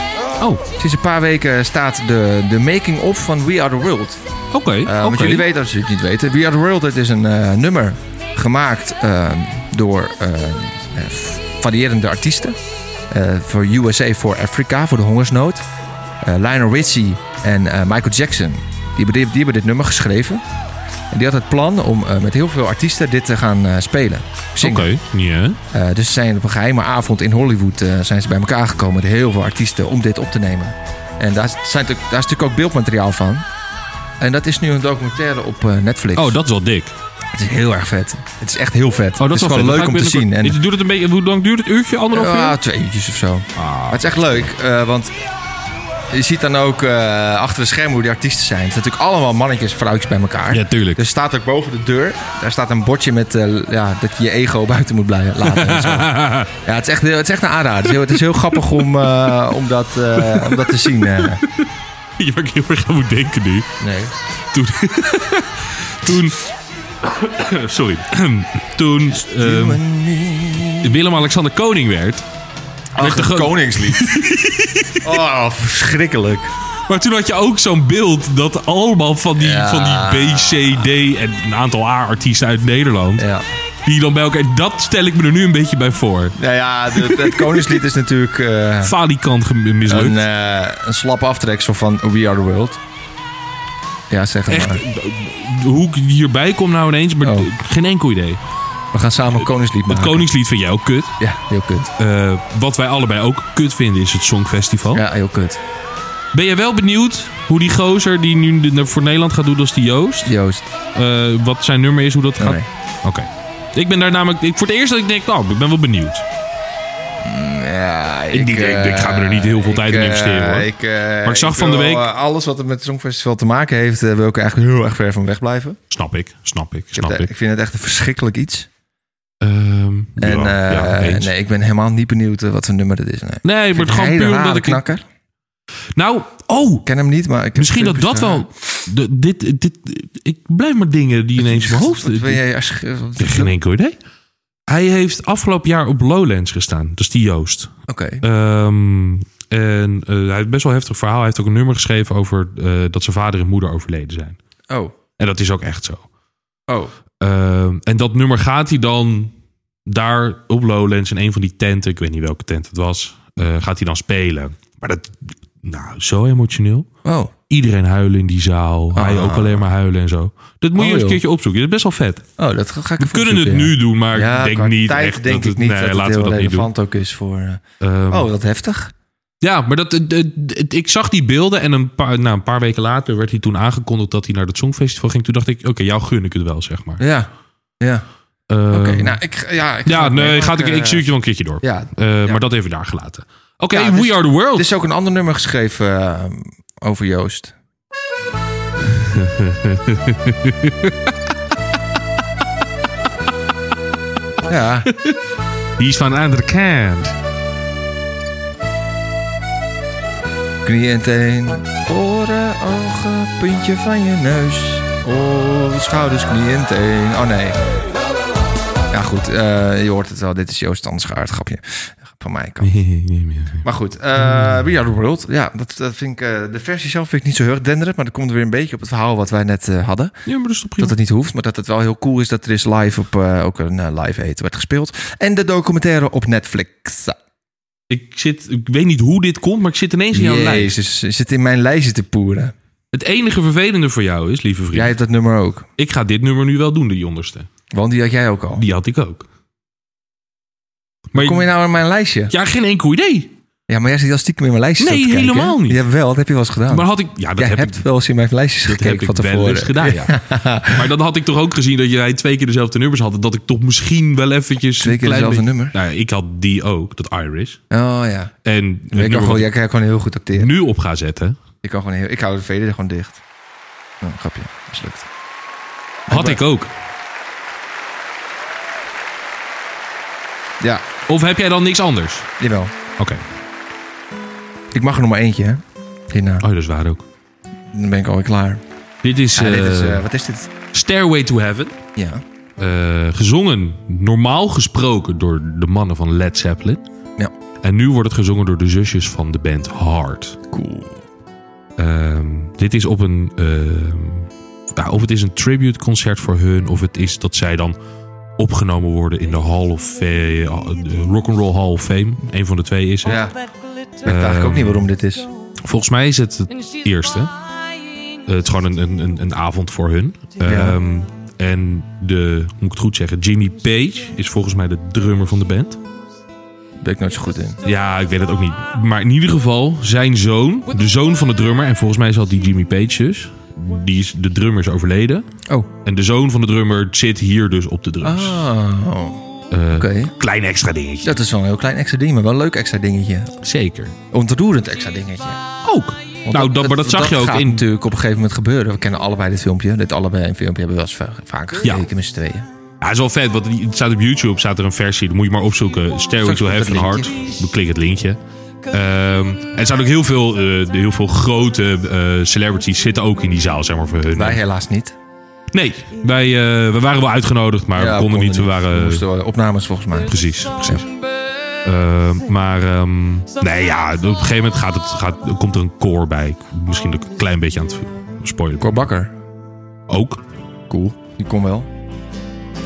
S2: Oh,
S1: Sinds een paar weken staat de, de making-of van We Are The World.
S2: oké.
S1: Eh,
S2: oké.
S1: Want jullie weten, als jullie het niet weten... We Are The World, het is een eh, nummer gemaakt eh, door eh, eh, variërende artiesten. Eh, voor USA voor Afrika, voor de hongersnood. Eh, Lionel Richie en eh, Michael Jackson. Die, hebben- die hebben dit nummer geschreven. En die had het plan om eh, met heel veel artiesten dit te gaan eh, spelen.
S2: Oké,
S1: Zingen.
S2: ja.
S1: Eh, dus ze zijn op een geheime avond in Hollywood eh, zijn ze bij elkaar gekomen met heel veel artiesten om dit op te nemen. En daar, is- zijn, natuurlijk- daar is natuurlijk ook beeldmateriaal van. En dat is nu een documentaire op eh, Netflix.
S2: Oh, dat is wel dik.
S1: Het is heel erg vet. Het is echt heel vet.
S2: Oh,
S1: het
S2: dat wel
S1: is gewoon
S2: vet.
S1: leuk
S2: Dan
S1: om
S2: ga
S1: te
S2: ik
S1: zien. En,
S2: binnenkort- Duurt het een beetje, hoe lang duurt het? Oh. Uurtje, anderhalf uur? Ah.
S1: ja, twee uurtjes of zo. Maar het is echt leuk, eh, want je ziet dan ook eh, achter de schermen hoe die artiesten zijn. Het zijn natuurlijk allemaal mannetjes en vrouwtjes bij elkaar.
S2: Ja, tuurlijk.
S1: Er staat ook boven de deur, daar staat een bordje met eh, ja, dat je je ego [laughs] buiten moet blijven laten.
S2: [laughs]
S1: en zo. Ja, het is echt, heel- het is echt een aanrader. Het is heel, het is heel grappig om, eh, om, dat, eh, om dat te zien. eh.
S2: [laughs] Je waar ik heel erg aan moet denken nu.
S1: Nee.
S2: Toen... [laughs] toen... [coughs] Sorry. [coughs] toen ehm, Willem-Alexander koning werd... werd er gewoon-
S1: koningslied.
S2: [laughs]
S1: oh, verschrikkelijk.
S2: Maar toen had je ook zo'n beeld dat allemaal van die,
S1: Ja.
S2: van die B, C, D en een aantal A-artiesten uit Nederland...
S1: Ja.
S2: die dan bij elkaar... Dat stel ik me er nu een beetje bij voor.
S1: Nou ja, de- het Koningslied is natuurlijk eh,
S2: Falikant gem- mislukt.
S1: een, eh een slappe aftreksel van We Are The World. Ja, zeg het
S2: Echt, eh,
S1: maar.
S2: hoe ik hierbij kom nou ineens, maar
S1: Oh.
S2: d- geen enkel idee.
S1: We gaan samen een Koningslied
S2: Het
S1: maken.
S2: Koningslied vind jij ook kut.
S1: Ja, heel kut.
S2: Eh, wat wij allebei ook kut vinden is het Songfestival.
S1: Ja, heel kut.
S2: Ben je wel benieuwd hoe die gozer die nu de- voor Nederland gaat doen als die Joost...
S1: Joost.
S2: eh, wat zijn nummer is, hoe dat gaat?
S1: Nee.
S2: Oké. Ik ben daar namelijk... Ik, voor het eerst dat ik denk, nou, ik ben wel benieuwd.
S1: Ja,
S2: Ik denk, ik- ik ga me er niet heel veel
S1: eh,
S2: tijd in
S1: ik, eh,
S2: investeren, hoor.
S1: Ik, eh,
S2: ik zag van de
S1: wil,
S2: week-
S1: eh, alles wat er met het Songfestival te maken heeft, eh, wil ik eigenlijk heel erg ver van wegblijven. Ik,
S2: Snap ik, snap ik,
S1: heb
S2: snap
S1: het-
S2: ik.
S1: ik vind het echt een verschrikkelijk iets.
S2: Ehm,
S1: En
S2: ja, ja,
S1: eh,
S2: eens.
S1: nee, ik ben helemaal niet benieuwd eh, wat voor nummer dit is. Nee.
S2: Nee, maar
S1: Ik
S2: het gewoon
S1: hele
S2: puur
S1: rare
S2: omdat ik...
S1: knakker. Ik
S2: Nou, oh,
S1: ken hem niet, maar ik heb
S2: misschien dat
S1: filmpjes
S2: dat
S1: gezien.
S2: wel... de- dit, dit, ik blijf maar dingen die ineens in mijn hoofd...
S1: Wat wil jij als ge- wat-
S2: Ik heb Geen enkel idee. Hij heeft afgelopen jaar op Lowlands gestaan. Dat is die Joost.
S1: Oké.
S2: Ehm, en eh, hij heeft best wel een heftig verhaal. Hij heeft ook een nummer geschreven over eh, dat zijn vader en moeder overleden zijn.
S1: Oh.
S2: En dat is ook echt zo.
S1: Oh.
S2: Ehm, en dat nummer gaat hij dan daar op Lowlands in een van die tenten. Ik weet niet welke tent het was. eh, gaat hij dan spelen. Maar dat, nou, zo emotioneel.
S1: Oh.
S2: Iedereen huilen in die zaal. Hij ook alleen maar huilen en zo. Dat moet
S1: Oh,
S2: je eens een
S1: joh.
S2: keertje opzoeken. Dat is best wel vet.
S1: Oh, dat ga ik
S2: We kunnen het nu doen, maar
S1: Ja,
S2: ik
S1: qua
S2: denk niet
S1: tijd
S2: echt
S1: denk
S2: dat
S1: ik
S2: het-
S1: niet
S2: nee,
S1: dat het
S2: laten
S1: heel
S2: we dat niet doen.
S1: relevant ook is voor... eh,
S2: Ehm,
S1: oh, wat heftig.
S2: Ja, maar dat, eh, eh, het- ik zag die beelden en een paar, nou, een paar weken later werd hij toen aangekondigd dat hij naar dat Songfestival ging. Toen dacht ik, oké, jou gun ik het wel, zeg maar.
S1: Ja. Ja.
S2: Ehm,
S1: Oké, nou, ik... ga- Ja, ik ga
S2: ja,
S1: het
S2: nee,
S1: meemaken,
S2: gaat, ik, ik
S1: eh,
S2: stuur het je wel een keertje door.
S1: Ja.
S2: Eh,
S1: ja.
S2: Maar dat even daar gelaten. Oké,
S1: Ja,
S2: We
S1: dus-
S2: Are The World.
S1: Er is ook een ander nummer geschreven eh, over
S2: [laughs]
S1: Joost. ja.
S2: die is van de andere kant.
S1: Knieën en teen. Oren, ogen, puntje van je neus. Oh, schouders, knieën en teen. Oh nee. Ja, goed. eh, je hoort het wel. Dit is Joost Tandschaard. Grapje. Van mij. Kan. Maar goed. eh,
S2: Hmm.
S1: We Are The World. Ja, dat, dat vind ik... eh, de versie zelf vind ik niet zo heel erg denderend. Maar dat komt weer een beetje op het verhaal wat wij net eh, hadden.
S2: Ja, maar dat is toch prima.
S1: Dat het niet hoeft. Maar dat het wel heel cool is dat er is live op... eh, ook een eh, live eten werd gespeeld. En de documentaire op Netflix.
S2: Ik, zit, ik weet niet hoe dit komt, maar ik zit ineens in jouw lijst.
S1: Jezus, je zit in mijn lijstje te poeren.
S2: Het enige vervelende voor jou is, lieve vriend,
S1: Jij hebt dat nummer ook.
S2: ik ga dit nummer nu wel doen, die onderste.
S1: Want die had jij ook al.
S2: Die had ik ook. Maar
S1: Kom je nou in mijn lijstje?
S2: Ja, geen enkel idee.
S1: Ja, maar jij zit al stiekem in mijn lijstje.
S2: Nee,
S1: te kijken, hè?
S2: helemaal niet.
S1: Ja, wel, dat heb je wel eens gedaan.
S2: Maar had ik... Ja,
S1: Oh.
S2: dat
S1: jij
S2: heb ik
S1: hebt wel eens in mijn lijstjes
S2: Dat heb
S1: gekeken
S2: ik
S1: van tevoren.
S2: wel eens gedaan,
S1: [laughs]
S2: ja. Maar dan had ik toch ook gezien dat jij twee keer dezelfde nummers had. Dat ik toch misschien wel eventjes...
S1: Twee
S2: een
S1: keer
S2: klein
S1: dezelfde
S2: beetje-
S1: nummer?
S2: Nou, ik had die ook, dat Iris.
S1: Oh ja.
S2: En het
S1: Ik
S2: nummer
S1: kan gewoon,
S2: wat
S1: jij kan gewoon heel goed
S2: ik
S1: acteren.
S2: nu op ga zetten,
S1: Ik, kan gewoon heel, ik hou de veder gewoon dicht. Oh, grapje. Mislukt.
S2: had ik ook.
S1: Ja,
S2: Of heb jij dan niks anders?
S1: jawel.
S2: Oké.
S1: Ik mag er nog maar eentje, hè. Hierna.
S2: Oh, dat is waar ook.
S1: Dan ben ik alweer klaar.
S2: Dit is,
S1: Ja, dit is,
S2: eh,
S1: eh, wat is dit?
S2: Stairway to Heaven.
S1: Ja.
S2: Eh, gezongen, normaal gesproken, door de mannen van Led Zeppelin.
S1: Ja.
S2: En nu wordt het gezongen door de zusjes van de band Hard.
S1: Cool.
S2: Ehm, dit is op een. ehm, nou, of het is een tributeconcert voor hun, of het is dat zij dan opgenomen worden in de Hall of eh, Fame. Rock'n'Roll Hall of Fame. Een van de twee is het.
S1: Ja. Ik weet eigenlijk ook niet waarom dit
S2: Ehm,
S1: is.
S2: Volgens mij is het het eerste. Eh, het is gewoon een, een, een, een avond voor hun. Ehm, en de, hoe moet ik het goed zeggen, Jimmy Page is volgens mij de drummer van de band.
S1: Daar ben ik nooit zo goed in.
S2: Ja, ik weet het ook niet. Maar in ieder geval, zijn zoon, de zoon van de drummer, en volgens mij is dat die Jimmy Page dus. Die is, de drummer is overleden.
S1: Oh.
S2: En de zoon van de drummer zit hier dus op de drums.
S1: Oh.
S2: Eh,
S1: Oké.
S2: Klein extra dingetje.
S1: Dat is wel een heel klein extra ding, maar wel een leuk extra dingetje.
S2: Zeker.
S1: Ontroerend extra dingetje.
S2: Ook.
S1: Want
S2: nou, dat, maar dat zag je ook
S1: gaat
S2: in.
S1: natuurlijk op een gegeven moment gebeuren. We kennen allebei dit filmpje. Dit allebei een filmpje hebben we wel eens va- vaker
S2: Ja.
S1: gekeken met z'n tweeën.
S2: Ja, het is wel vet, want die- het staat op YouTube staat er een versie. Dan moet je maar opzoeken. Stairway
S1: Straks
S2: to
S1: komt het
S2: Heaven Hard.
S1: linkje.
S2: Beklik het linkje. Ehm, en er zijn ook heel veel, eh, heel veel grote eh, celebrities zitten ook in die zaal, zeg maar, voor hun.
S1: Wij helaas niet.
S2: Nee, wij, eh, we waren wel uitgenodigd, maar we konden niet. We waren...
S1: moesten eh, opnames volgens mij.
S2: Precies, precies. Eh, maar ehm, nee, ja, op een gegeven moment gaat het, gaat, komt er een koor bij. Misschien dat ik een klein beetje aan het spoilen.
S1: Cor Bakker.
S2: Ook.
S1: Cool. Die kon wel.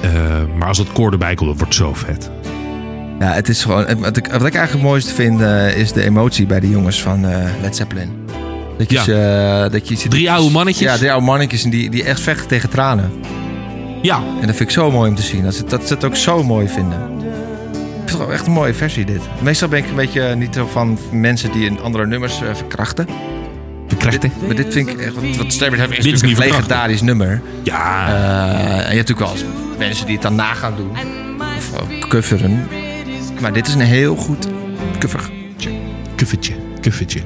S2: Eh, Eh, maar als dat koor erbij komt, dat wordt zo vet.
S1: Ja, het is gewoon. Wat ik, wat ik eigenlijk het mooiste vind eh, is de emotie bij de jongens van eh, Led Zeppelin. Dat je,
S2: Ja.
S1: ze- eh, dat je ziet-
S2: Drie oude mannetjes.
S1: Ja, drie oude mannetjes en die, die echt vechten tegen tranen.
S2: Ja,
S1: En dat vind ik zo mooi om te zien. Dat ze, dat ze het ook zo mooi vinden. Ik vind het wel echt een mooie versie dit. Meestal ben ik een beetje eh, niet zo van mensen die in andere nummers eh, verkrachten.
S2: verkrachten.
S1: Maar dit vind ik echt... Wat Stabbert Heaven is
S2: Dit
S1: natuurlijk
S2: is
S1: een
S2: niet verkrachten.
S1: legendarisch nummer.
S2: Ja,
S1: Eh, en je hebt natuurlijk wel eens mensen die het dan na gaan doen. Of ook coveren. Maar dit is een heel goed cover.
S2: kuffertje, kuffertje.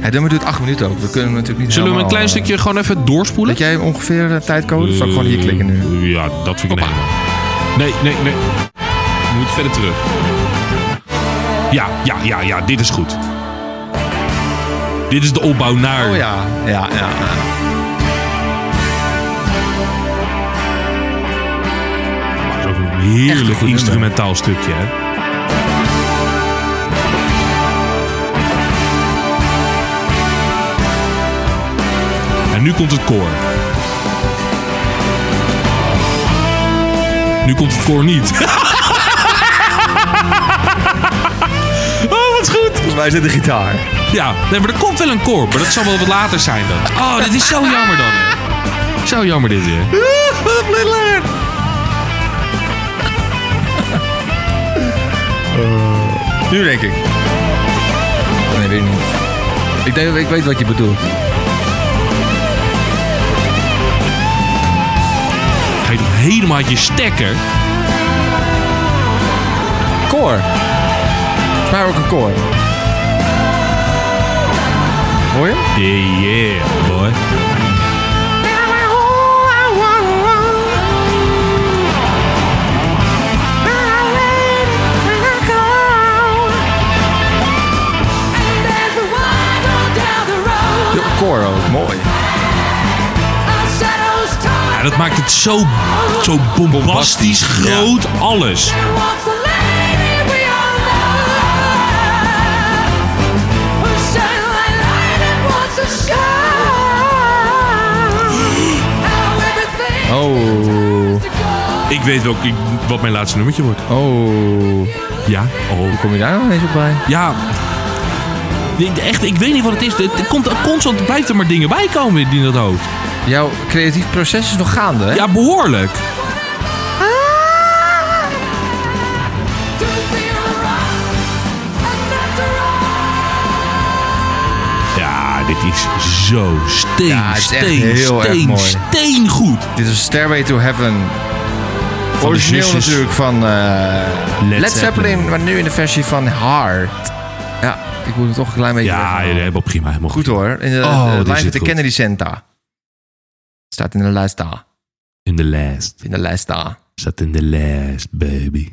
S1: Het nummer duurt acht minuten ook. We kunnen hem natuurlijk niet
S2: Zullen we een
S1: helemaal,
S2: klein
S1: eh,
S2: stukje gewoon even doorspoelen?
S1: Weet jij ongeveer de tijdcode? Of zal ik gewoon hier klikken nu?
S2: Eh, Ja, dat vind ik een hele- Nee, nee, nee. Je moet verder terug. Ja, ja, ja, ja, dit is goed. Dit is de opbouw naar.
S1: Oh ja. Ja, ja. ja.
S2: Dat is ook een
S1: Echt een
S2: heerlijk
S1: goed
S2: instrumentaal stukje, hè? En nu komt het koor. Nu komt het koor niet. [laughs] oh, wat goed!
S1: Volgens mij zit de gitaar.
S2: Ja, nee, maar er komt wel een koor, maar dat zal wel wat later zijn dan. Oh, dit is zo jammer dan. hè. Zo jammer dit weer.
S1: Nu denk ik. Oh, Nee, weet ik niet. Ik, denk, ik weet wat je bedoelt.
S2: Ga je toch helemaal uit je stekker?
S1: Koor. Volgens mij ook een koor. Hoor je?
S2: Yeah, yeah, boy.
S1: Ja, een koor ook. Mooi.
S2: Ja, Nou, dat maakt het zo, zo bombastisch, groot, alles.
S1: Oh.
S2: Ik weet wel wat mijn laatste nummertje wordt.
S1: Oh.
S2: Ja, oh.
S1: Kom je daar nou eens op bij?
S2: Ja. Ik- Echt, ik weet niet wat het is. Het komt constant, blijft er maar dingen bij komen in dat hoofd.
S1: Jouw creatief proces is nog gaande, hè?
S2: Ja, behoorlijk. Ja, dit is zo steen,
S1: Ja, het is echt
S2: steen,
S1: heel erg
S2: steen,
S1: mooi.
S2: steen goed.
S1: Dit is Stairway to Heaven.
S2: de
S1: Origineel
S2: zusjes.
S1: natuurlijk van eh, Led,
S2: dus. Led
S1: Zeppelin,
S2: Zeppelin.
S1: maar nu in de versie van Heart. Ja, ik moet hem toch een klein beetje...
S2: Ja,
S1: weghalen.
S2: ja, helemaal prima. Helemaal
S1: Goed
S2: prima.
S1: hoor. In de,
S2: Oh,
S1: de
S2: dit
S1: live
S2: zit
S1: at the
S2: goed.
S1: Kennedy Center. Staat in de lijst daar.
S2: In the last.
S1: In de lijst daar.
S2: Zat in the last, baby.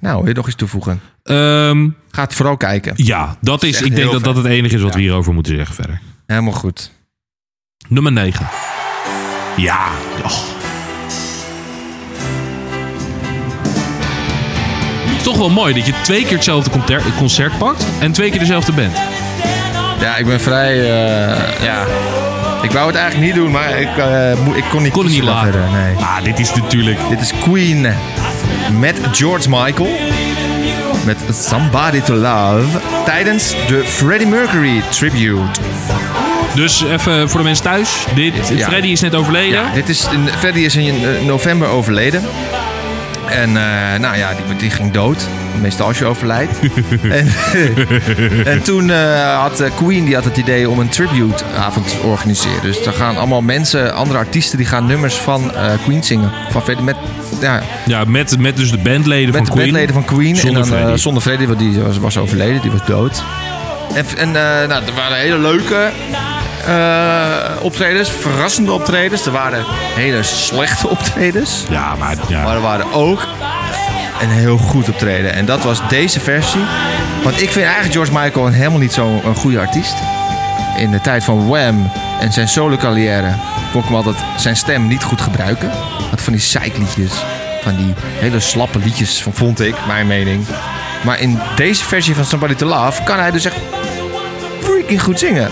S1: Nou, wil je nog iets toevoegen?
S2: Ehm,
S1: Ga het vooral kijken.
S2: ja, dat is,
S1: echt
S2: ik
S1: heel
S2: denk dat
S1: vet.
S2: dat het enige is wat we
S1: Ja.
S2: hierover moeten zeggen verder.
S1: Helemaal goed.
S2: Nummer 9. Ja. oh. och. Het is toch wel mooi dat je twee keer hetzelfde conter- concert pakt en twee keer dezelfde band.
S1: Ja, ik ben vrij... eh, ja. Ik wou het eigenlijk niet doen, maar ik, eh, mo- ik kon niet
S2: Kon het niet
S1: kiezen
S2: laten.
S1: verder, Nee.
S2: Ah, dit is natuurlijk...
S1: Dit is Queen met George Michael. Met Somebody to Love. Tijdens de Freddie Mercury tribute.
S2: Dus even voor de mensen thuis. Dit,
S1: Ja.
S2: Freddy is net overleden.
S1: Ja, dit is in, Freddie is in eh, november overleden. En eh, nou ja, die, die ging dood. Meestal als je overlijdt. en, en toen eh, had eh, Queen die had het idee om een tributeavond te organiseren. Dus er gaan allemaal mensen, andere artiesten, die gaan nummers van eh, Queen zingen. Van Freddie met, ja,
S2: Ja, met, met dus de bandleden
S1: Met
S2: van
S1: de
S2: Queen.
S1: bandleden van Queen.
S2: Zonder
S1: en dan, eh,
S2: Freddy.
S1: zonder Freddy, want die was, was overleden. Die was dood. En, en eh, nou, er waren hele leuke eh, optredens. Verrassende optredens. Er waren hele slechte optredens.
S2: Ja, maar...
S1: Maar
S2: Ja.
S1: er waren ook een heel goed optreden. En dat was deze versie. Want ik vind eigenlijk George Michael een helemaal niet zo'n een goede artiest. In de tijd van Wham en zijn solo carrière kon ik hem altijd zijn stem niet goed gebruiken. Had van die zeikliedjes. Van die hele slappe liedjes, van- vond ik, mijn mening. Maar in deze versie van Somebody to Love kan hij dus echt freaking goed zingen.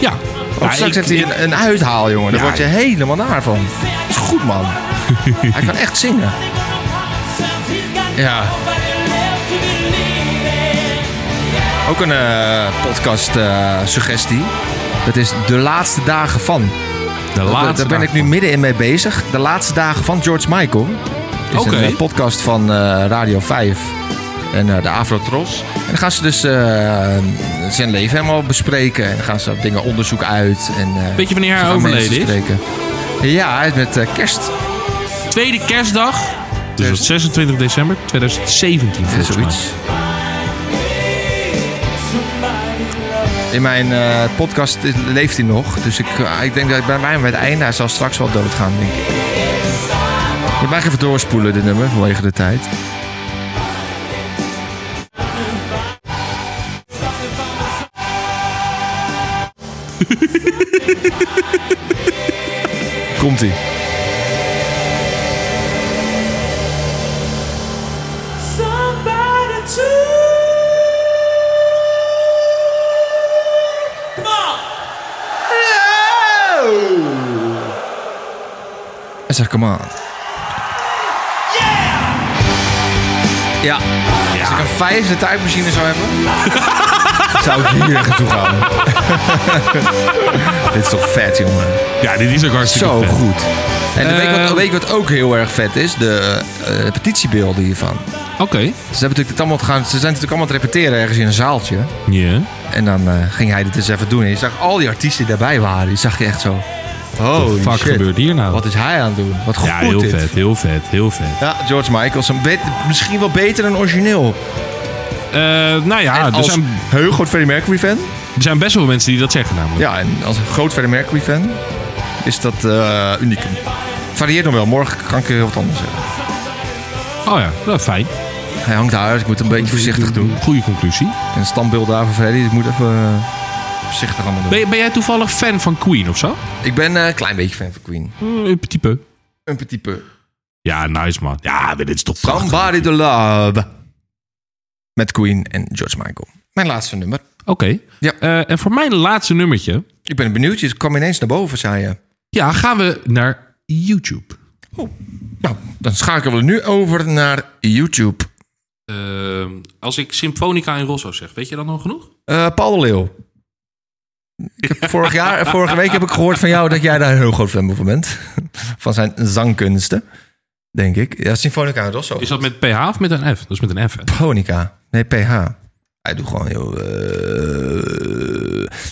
S2: ja.
S1: Want straks
S2: ik-
S1: heeft hij een, een uithaal, jongen. Daar
S2: Ja,
S1: word je
S2: ik-
S1: helemaal naar van. Dat is goed,
S2: [laughs]
S1: man. hij kan echt zingen. Ja. Ook een eh, podcast eh, suggestie. Dat is De Laatste Dagen Van.
S2: De
S1: Dat-
S2: laatste
S1: Daar ben ik nu middenin mee bezig. De laatste dagen van George Michael. Het is
S2: Oké.
S1: een eh, podcast van eh, Radio 5 en eh, de Afrotros. En dan gaan ze dus eh, zijn leven helemaal bespreken. En dan gaan ze dingen onderzoek uit. En, eh,
S2: Weet je wanneer hij
S1: ze gaan
S2: overleden
S1: mensen
S2: is?
S1: spreken. Ja, hij is met eh, kerst.
S2: Tweede kerstdag. Dus dat is 26 december 2017
S1: Ja,
S2: volgens mij.
S1: zoiets. In mijn eh, podcast leeft hij nog. Dus ik, eh, ik denk dat ik bij mij bij het einde... Hij zal straks wel doodgaan, denk ik. Je mag even doorspoelen, dit nummer, vanwege de tijd. [laughs] Komt-ie.
S7: Somebody to Come on!
S1: Hij zegt, come on. Ja. Als ik een vijfde tijdmachine zou hebben... [laughs] zou ik hier naartoe gaan. [laughs] Dit is toch vet, jongen.
S2: Ja, dit is ook hartstikke
S1: Zo
S2: vet.
S1: goed. En weet, je wat,
S2: Eh.
S1: weet je wat ook heel erg vet is? De eh, repetitiebeelden hiervan.
S2: Oké.
S1: Ze, hebben natuurlijk het allemaal gaan, ze zijn natuurlijk allemaal aan het repeteren ergens in een zaaltje.
S2: Ja.
S1: En dan eh, ging hij dit eens even doen. En je zag al die artiesten die daarbij waren. Die zag je echt zo...
S2: Wat
S1: Oh,
S2: de fuck gebeurt hier nou?
S1: Wat is hij aan het doen? Wat goed
S2: ja, heel
S1: dit.
S2: vet, heel vet, heel vet.
S1: Ja, George Michael. is een bet- misschien wel beter dan origineel.
S2: Eh, nou ja,
S1: en
S2: er,
S1: als
S2: zijn,
S1: Ah, dus heel groot Freddie Mercury fan.
S2: er zijn best wel mensen die dat zeggen namelijk.
S1: Ja, en als groot Freddie Mercury fan is dat eh uniek. Varieert nog wel. Morgen kan ik weer wat anders zeggen.
S2: Oh ja, nou, fijn.
S1: Hij hangt daar, dus ik moet een beetje voorzichtig doen.
S2: Goede conclusie.
S1: En standbeeld daar van Freddy, dus ik moet even eh, voorzichtig allemaal doen.
S2: Ben, ben jij toevallig fan van Queen of zo?
S1: Ik ben eh, een klein beetje fan van Queen.
S2: Een petit peu.
S1: Eh, Een petit peu.
S2: Ja, nice man. Ja, maar dit is toch prachtig.
S1: Somebody to love. Met Queen en George Michael. Mijn laatste nummer.
S2: Oké.
S1: Ja.
S2: Eh, en voor mijn laatste nummertje...
S1: Ik ben benieuwd, je kwam ineens naar boven, zei je.
S2: Ja, gaan we naar YouTube.
S1: Nou, dan schakelen we nu over naar YouTube.
S2: Ehm, als ik Symfonica in Rosso zeg, weet je dan al genoeg?
S1: Eh, Paul de Leeuw. Ik heb vorig
S2: [laughs]
S1: jaar, vorige week heb ik gehoord van jou dat jij daar een heel groot fan van bent. Van zijn zangkunsten, denk ik. Ja, Symfonica en Rosso.
S2: Is dat met PH of met een F? Dat is met een F, hè?
S1: Honica. Nee, PH. Hij doet gewoon heel... eh,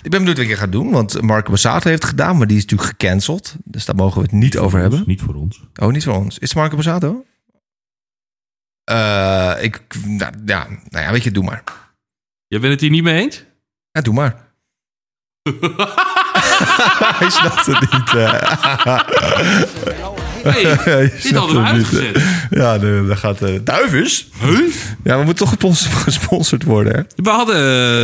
S1: Ik ben benieuwd wat je gaat doen, want Mark Bassato heeft het gedaan, maar die is natuurlijk gecanceld. Dus daar mogen we het niet over hebben.
S2: Niet voor ons.
S1: Oh, niet van ons. Is het Marco Bassato? Eh, ik, nou, ja, nou ja, weet je, doe maar.
S2: Jij bent het hier niet mee eens?
S1: Ja, doe maar. [laughs] Hij snapt het niet. eh.
S2: [laughs] Nee, dit
S1: snapt
S2: hadden we
S1: het niet, hè.
S2: uitgezet.
S1: Ja, de- daar gaat... eh duivens?
S2: Huh?
S1: Ja, we moeten toch gepons- [laughs] gesponsord worden, hè?
S2: We hadden,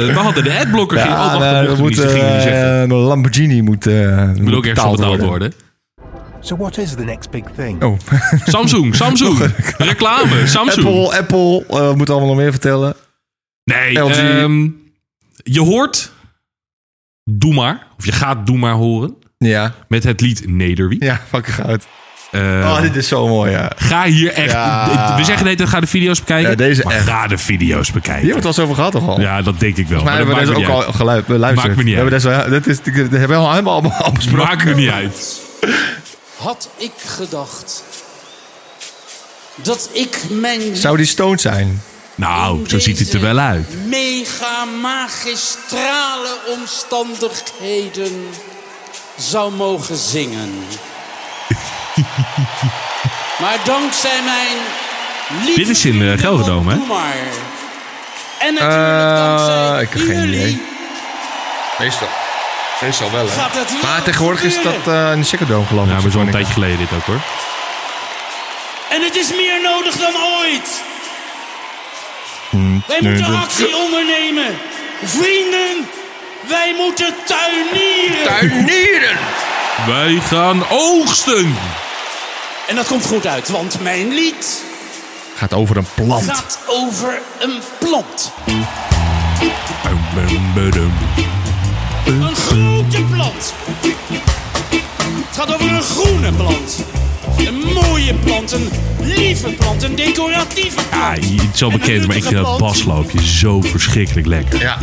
S2: we hadden de adblocker. ging- oh, wacht,
S1: nou,
S2: dat
S1: we
S2: mochten we niet,
S1: moeten,
S2: dat gingen we niet zeggen.
S1: eh, een Lamborghini moet, eh
S2: moet ook ergens betaald worden.
S1: [laughs]
S8: So, what is the next big thing?
S1: Oh.
S2: [laughs] Samsung, Samsung. Reclame, Samsung.
S1: Apple, Apple, eh, moet allemaal nog meer vertellen.
S2: Nee,
S1: LG.
S2: ehm, je hoort Doe maar, of je gaat Doe maar horen,
S1: Ja,
S2: met het lied Nederwie.
S1: ja, fucking goud.
S2: Eh,
S1: Oh, dit is zo mooi, ja.
S2: Ga hier echt...
S1: Ja.
S2: We zeggen de hele tijd, ga de video's bekijken.
S1: Ja, deze
S2: maar
S1: echt.
S2: ga de video's bekijken.
S1: Hier hebben we het al eens over gehad, toch al?
S2: Ja, dat denk ik wel.
S1: Maar,
S2: Maar
S1: we
S2: dat
S1: hebben dus
S2: maakt me
S1: ook
S2: niet
S1: al geluid, we luisteren.
S2: Maakt me niet
S1: we hebben dus wel- dat is, dat hebben we al helemaal [laughs] allemaal al
S2: uit.
S1: besproken.
S2: Maakt me niet uit.
S9: had ik gedacht dat ik mijn
S1: Zou die stoned zijn?
S2: Nou,
S9: in
S2: zo ziet het er
S9: deze
S2: wel uit.
S9: Mega magistrale omstandigheden zou mogen
S2: [laughs]
S9: zingen. maar dankzij mijn liefde.
S2: Dit is in, eh, Gelredome, hè? Eh,
S9: Doe maar. En natuurlijk dankzij
S1: ik heb geen idee.
S9: jullie
S1: Meestal. Meestal wel, hè?
S9: gaat het weer
S1: Maar tegenwoordig is dat
S9: gebeuren.
S1: eh in de Sikkerdoom geland.
S2: Nou, maar zo'n tijdje geleden dit ook hoor.
S9: En het is meer nodig dan ooit.
S2: eh,
S9: Wij moeten actie ondernemen. Vrienden, wij moeten tuinieren.
S1: Tuinieren!
S2: Wij gaan oogsten.
S9: En dat komt goed uit, want mijn lied
S1: Gaat over een plant.
S9: gaat over een plant.
S2: pum,
S9: Een grote plant. Het gaat over een groene plant. Een mooie plant, een lieve plant, een decoratieve
S2: Ja,
S9: plant.
S2: het is al
S9: En een
S2: bekend, maar ik vind
S9: nuttige
S2: dat
S9: plant.
S2: basloopje zo verschrikkelijk lekker.
S1: Ja.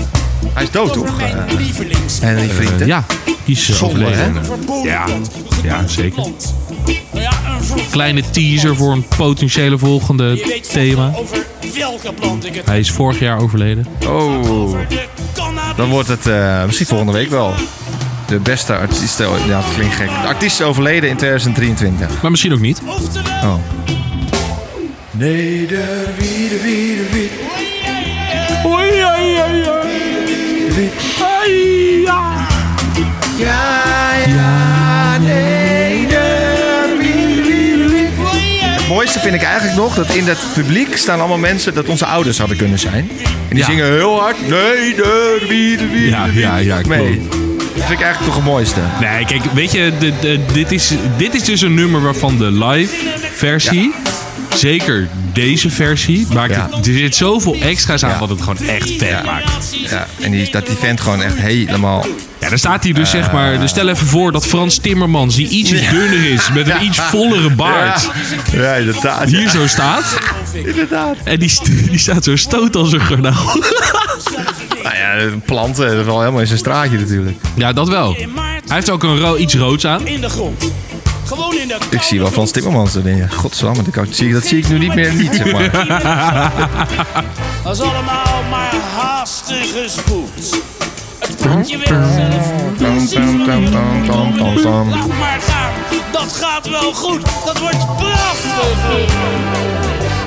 S1: Hij is dood,
S9: Over
S1: toch?
S9: mijn
S1: eh,
S9: lievelings.
S1: Henry Vrienden.
S2: Eh, ja, kies eh,
S1: Zonde,
S2: overleden.
S1: hè?
S9: verboden
S2: Ja,
S9: plant. Een verboden
S2: ja, zeker.
S9: plant. Nou ja, een verboden
S2: Kleine
S9: plant.
S2: teaser voor een potentiële
S9: Je
S2: volgende
S9: weet vast
S2: thema.
S9: wel over welke plant ik het
S2: Hij is vorig jaar overleden.
S1: Oh.
S9: over de cannabis.
S1: Dan wordt het eh, misschien volgende week wel de beste artiest. Ja, dat klinkt gek. De artiest is overleden in 2023.
S2: Maar misschien ook niet.
S9: Oftewel,
S1: Oh. Het mooiste vind ik eigenlijk nog dat in dat publiek staan allemaal mensen dat onze ouders hadden kunnen zijn. En die
S2: Ja.
S1: zingen heel hard. Nee, de wie, de wie,
S2: Ja,
S1: de wie,
S2: ja, ja,
S1: mee.
S2: klopt.
S1: Dat vind ik eigenlijk toch het mooiste.
S2: Nee, kijk, weet je, de- de- dit, is, dit is dus een nummer waarvan de live versie, zeker deze versie, maakt
S1: Ja.
S2: het, er zit zoveel extra's aan
S1: Ja.
S2: wat het gewoon echt vet maakt.
S1: Ja, en die, dat die vent gewoon echt helemaal...
S2: Ja, dan staat hij dus
S1: Eh.
S2: zeg maar, dus stel even voor dat Frans Timmermans, die ietsjes dunner is, met een iets vollere baard,
S1: [laughs] Ja, inderdaad.
S2: hier zo staat. En die, st- die staat zo stoot als een garnaal.
S1: [laughs] Nou ja, planten, dat valt helemaal in zijn straatje natuurlijk.
S2: Ja, dat wel.
S9: in maart
S2: Hij heeft ook een ro- iets roods aan.
S9: in de grond. Gewoon in de
S1: Ik zie wel Frans Timmermans erin. ja. Godsamme, dat, kan- zie ik- dat zie ik nu niet meer niet, zeg maar.
S9: [laughs] Dat is allemaal maar haastig gespoed. Het praatje weet zelf. precies wat
S1: tam,
S9: het
S1: tam, tam, tam.
S9: doet. Laat maar gaan. Dat gaat wel goed. Dat wordt prachtig.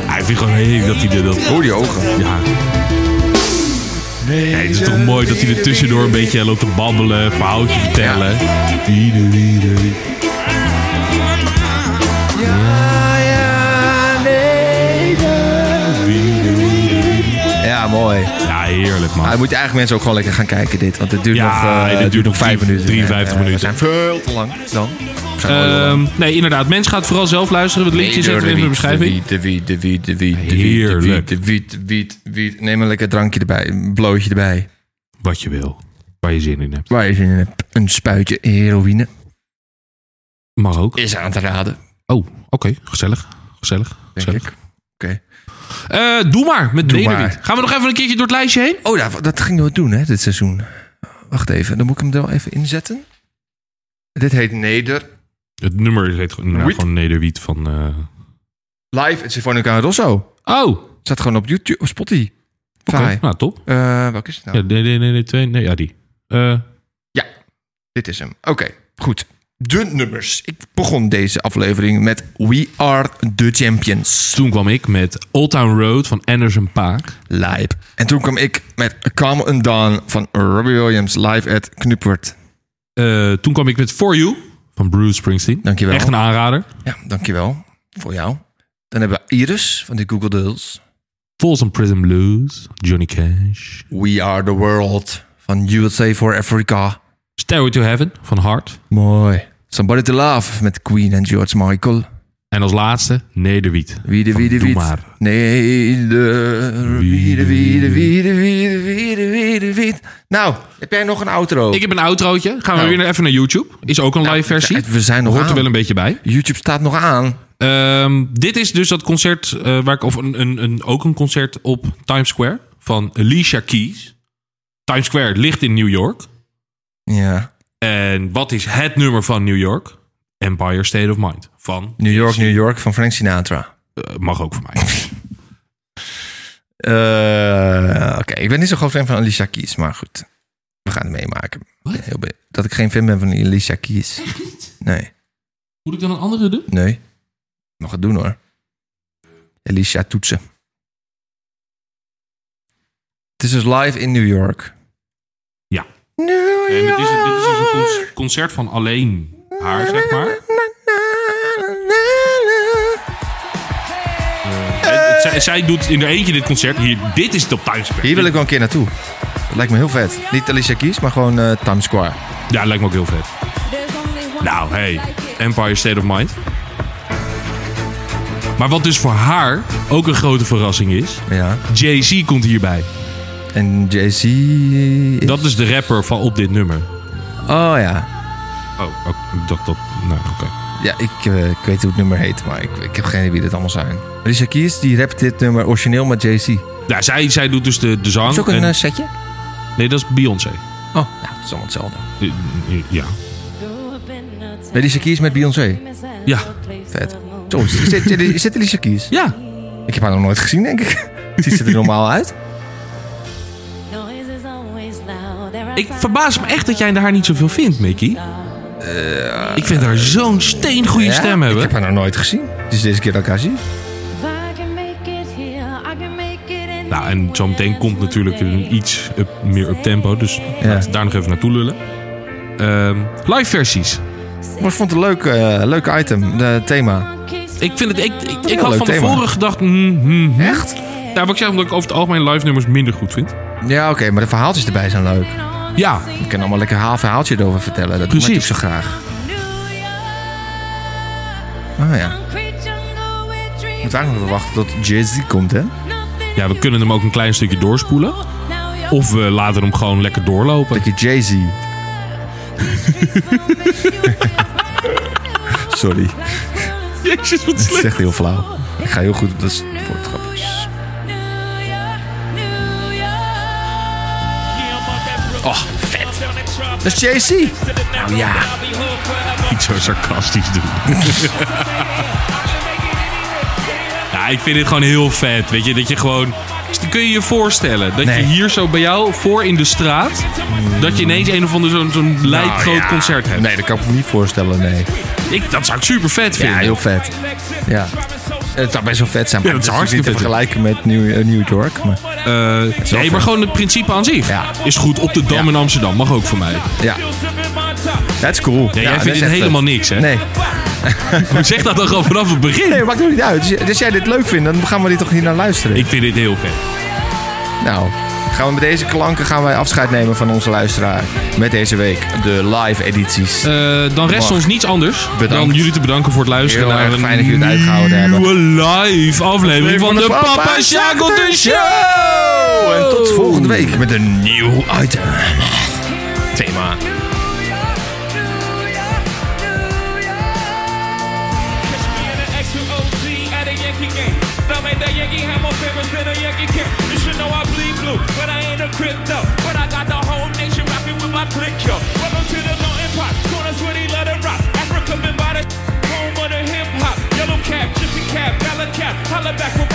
S2: Hij vindt gewoon heerlijk dat hij er dat...
S1: Hoe die ogen.
S2: Ja. Nee, het is toch mooi dat hij er tussendoor een beetje loopt te babbelen, verhaaltje vertellen. Wiede, wiede, wiede. Wiede, wiede, wiede.
S1: Ja, mooi.
S2: Ja, heerlijk man.
S1: Maar moet eigenlijk mensen ook gewoon lekker gaan kijken dit. Want dit duurt
S2: Ja,
S1: nog, eh,
S2: dit
S1: het
S2: duurt nog
S1: vijf
S2: drie-
S1: minuten.
S2: 53
S1: En, eh,
S2: minuten.
S1: We zijn veel te lang dan. We zijn wel heel lang.
S2: Ehm, nee, inderdaad. Mensen gaan het vooral zelf luisteren. Het linkje zetten we in de beschrijving.
S1: De wiet, de wiet, de wiet, de wiet, de wiet,
S2: Heerlijk.
S1: de wiet, de wiet, de wiet. Neem een lekker drankje erbij, een blootje erbij.
S2: Wat je wil. Waar je zin in hebt.
S1: Waar je zin in hebt. Een spuitje heroïne
S2: Mag ook.
S1: is aan te raden,
S2: Oh, oké. Gezellig. Gezellig.
S1: denk
S2: Gezellig.
S1: ik.
S2: Eh, doe maar met
S1: Doe
S2: Doe
S1: maar.
S2: Gaan we nog even een keertje door het lijstje heen?
S1: Oh, daar- dat gingen we doen, hè, dit seizoen. Wacht even, dan moet ik hem er wel even inzetten. Dit heet Neder.
S2: Het nummer heet gewoon, nou,
S1: Wiet.
S2: gewoon Nederwiet van... eh,
S1: Live at Sinfonica Rosso.
S2: Oh, oké.
S1: Staat gewoon op YouTube, op Spotify.
S2: Nou, top.
S1: Eh, welke is het nou?
S2: Ja, nee, nee, nee, nee, twee, nee, ja, die. Eh,
S1: Ja, dit is hem. Oké, goed. De nummers. Ik begon deze aflevering met We Are The Champions.
S2: toen kwam ik met Old Town Road van Anderson Paak.
S1: Live. En toen kwam ik met Come and Dawn van Robbie Williams live at Knupwert.
S2: Eh, toen kwam ik met For You van Bruce Springsteen.
S1: Dankjewel.
S2: Echt een aanrader.
S1: Ja, dankjewel voor jou. Dan hebben we Iris van de Google Dolls.
S2: Folsom Prison Blues, Johnny Cash.
S1: We Are The World van USA for Africa.
S2: Stairway to Heaven van Hart.
S1: Mooi. Somebody To Love met Queen en George Michael.
S2: En als laatste Nederwiet.
S1: Wie de
S2: van
S1: wie de
S2: Doe
S1: wie.
S2: maar.
S1: Nee, de wie de wie de wie de wie de wie de wie de wie. Nou, heb jij nog een outro?
S2: Ik heb een outrootje. Gaan we
S1: Oh.
S2: weer even naar YouTube. Is ook een live versie.
S1: we zijn nog
S2: Hoort er
S1: aan.
S2: wel een beetje bij.
S1: YouTube staat nog aan.
S2: Ehm, dit is dus dat concert eh, waar ik of een, een, een, ook een concert op Times Square van Alicia Keys. Times Square ligt in New York.
S1: Ja.
S2: En wat is het nummer van New York? Empire State of Mind van
S1: New York, New York van Frank Sinatra.
S2: eh, mag ook voor mij.
S1: Eh, Oké, ik ben niet zo groot fan van Alicia Keys, maar goed. We gaan het meemaken. Ik ben heel benieuwd. Dat ik geen fan ben van Alicia Keys. Nee,
S2: Moet ik dan een andere doen?
S1: nee. Mag het doen hoor. Alicia toetsen. Het is dus live in New York.
S2: Ja.
S1: New
S2: Nee, maar dit, is, dit is dus een con- concert van alleen haar, zeg maar. Het- het- zij, zij doet in haar eentje dit concert. Hier, dit is het op Times Square.
S1: Hier wil ik wel een keer naartoe. Dat lijkt me heel vet. Niet Alicia Keys, maar gewoon eh, Times Square.
S2: Ja, lijkt me ook heel vet. Nou, hey, Empire State of Mind. Maar wat dus voor haar ook een grote verrassing is,
S1: Ja.
S2: Jay-Z komt hierbij.
S1: En Jay-Z... is-
S2: Dat is de rapper van op dit nummer.
S1: Oh ja.
S2: Oh, ik dacht dat... Nou, oké.
S1: Ja, ik, eh, ik weet hoe het nummer heet, maar ik, ik heb geen idee wie dit allemaal zijn. Alicia Keys, die rapt dit nummer origineel met Jay-Z.
S2: Ja, zij, zij doet dus de, de zang.
S1: Is ook een
S2: en-
S1: eh, setje?
S2: Nee, dat is Beyoncé.
S1: Oh, nou, het is allemaal hetzelfde.
S2: Eh, Ja.
S1: Alicia Keys met Beyoncé.
S2: Ja.
S1: Vet. Zo, is, is dit, is dit Alicia Keys?
S2: Ja.
S1: Ik heb haar nog nooit gezien, denk ik. [laughs] Ziet ze er normaal uit?
S2: Ik verbaas me echt dat jij haar niet zoveel vindt, Mickey. ik vind haar zo'n steengoede
S1: Eh, Ja,
S2: stem
S1: Ik
S2: hebben.
S1: heb haar nog nooit gezien. Het is deze keer dat ik haar zie.
S2: Nou, en zometeen komt natuurlijk een iets up- meer up tempo. Dus laten we daar nog even naartoe lullen. Ehm, live versies.
S1: Maar ik vond het een leuk, eh, leuk item, de thema.
S2: Ik, vind het, ik, ik, ik
S1: heel
S2: had
S1: leuk
S2: van
S1: thema.
S2: tevoren gedacht. hmm, hmm, hmm.
S1: Echt?
S2: Nou, wat ik zeg, omdat ik over het algemeen live nummers minder goed vind.
S1: Ja, oké, maar de verhaaltjes erbij zijn leuk.
S2: Ja,
S1: Ik kan allemaal lekker haar verhaaltje erover vertellen. Dat
S2: Precies.
S1: doe ik zo graag. Oh ja. Moet eigenlijk nog even wachten tot Jay-Z komt, hè?
S2: ja, we kunnen hem ook een klein stukje doorspoelen. Of we laten hem gewoon lekker doorlopen.
S1: Dat je Jay-Z. [laughs] Sorry,
S2: Jezus, wat
S1: het is echt heel flauw. Ik ga heel goed op dat s- woord grappen.
S9: Oh, vet.
S1: Dat is Jay-Z.
S9: Nou ja.
S2: Niet zo sarcastisch doen. ja, ik vind dit gewoon heel vet. Weet je, dat je gewoon. Dus dan kun je je voorstellen dat je
S1: Nee.
S2: hier zo bij jou voor in de straat. dat je ineens een of ander zo'n zo'n lijp groot
S1: Nou ja.
S2: concert hebt.
S1: Nee, dat kan ik me niet voorstellen, nee.
S2: Ik, dat zou ik super vet
S1: Ja,
S2: vinden.
S1: heel vet. Ja. Het zou best wel vet zijn, maar
S2: Ja, dat is
S1: het natuurlijk niet te
S2: hartstikke
S1: vergelijken met New, eh, New York. Maar...
S2: Eh,
S1: wel
S2: nee, maar
S1: vet.
S2: gewoon het principe aan zich.
S1: Ja.
S2: Is goed op de Dam
S1: Ja.
S2: in Amsterdam. Mag ook voor
S1: [laughs]
S2: mij.
S1: Ja, dat is cool. Ja, dat
S2: jij vindt
S1: is
S2: het
S1: echt
S2: helemaal
S1: vet.
S2: niks, hè?
S1: Nee.
S2: Maar zeg dat dan gewoon vanaf het
S1: Nee,
S2: begin.
S1: maakt nog niet uit. Dus, dus jij dit leuk vindt, dan gaan we dit toch niet naar luisteren?
S2: Ik vind dit heel vet.
S1: Nou, gaan we met deze klanken gaan wij afscheid nemen van onze luisteraar. Met deze week de live edities.
S2: Eh, dan rest
S1: Mag.
S2: ons niets anders
S1: Bedankt.
S2: dan jullie te bedanken voor het luisteren
S1: Heel
S2: naar
S1: erg
S2: een
S1: fijn dat jullie het uitgehouden hebben.
S2: nieuwe live aflevering van de Papa Shackleton Show.
S1: Oh, En tot volgende week met een nieuw item. Thema.
S9: Crypto, but I got the whole nation rocking with my click, yo. Welcome to the Norton Pop, corner sweaty, let it rock. Africa been by the home of the hip hop. Yellow cap, gypsy cap, dollar cap, holla back for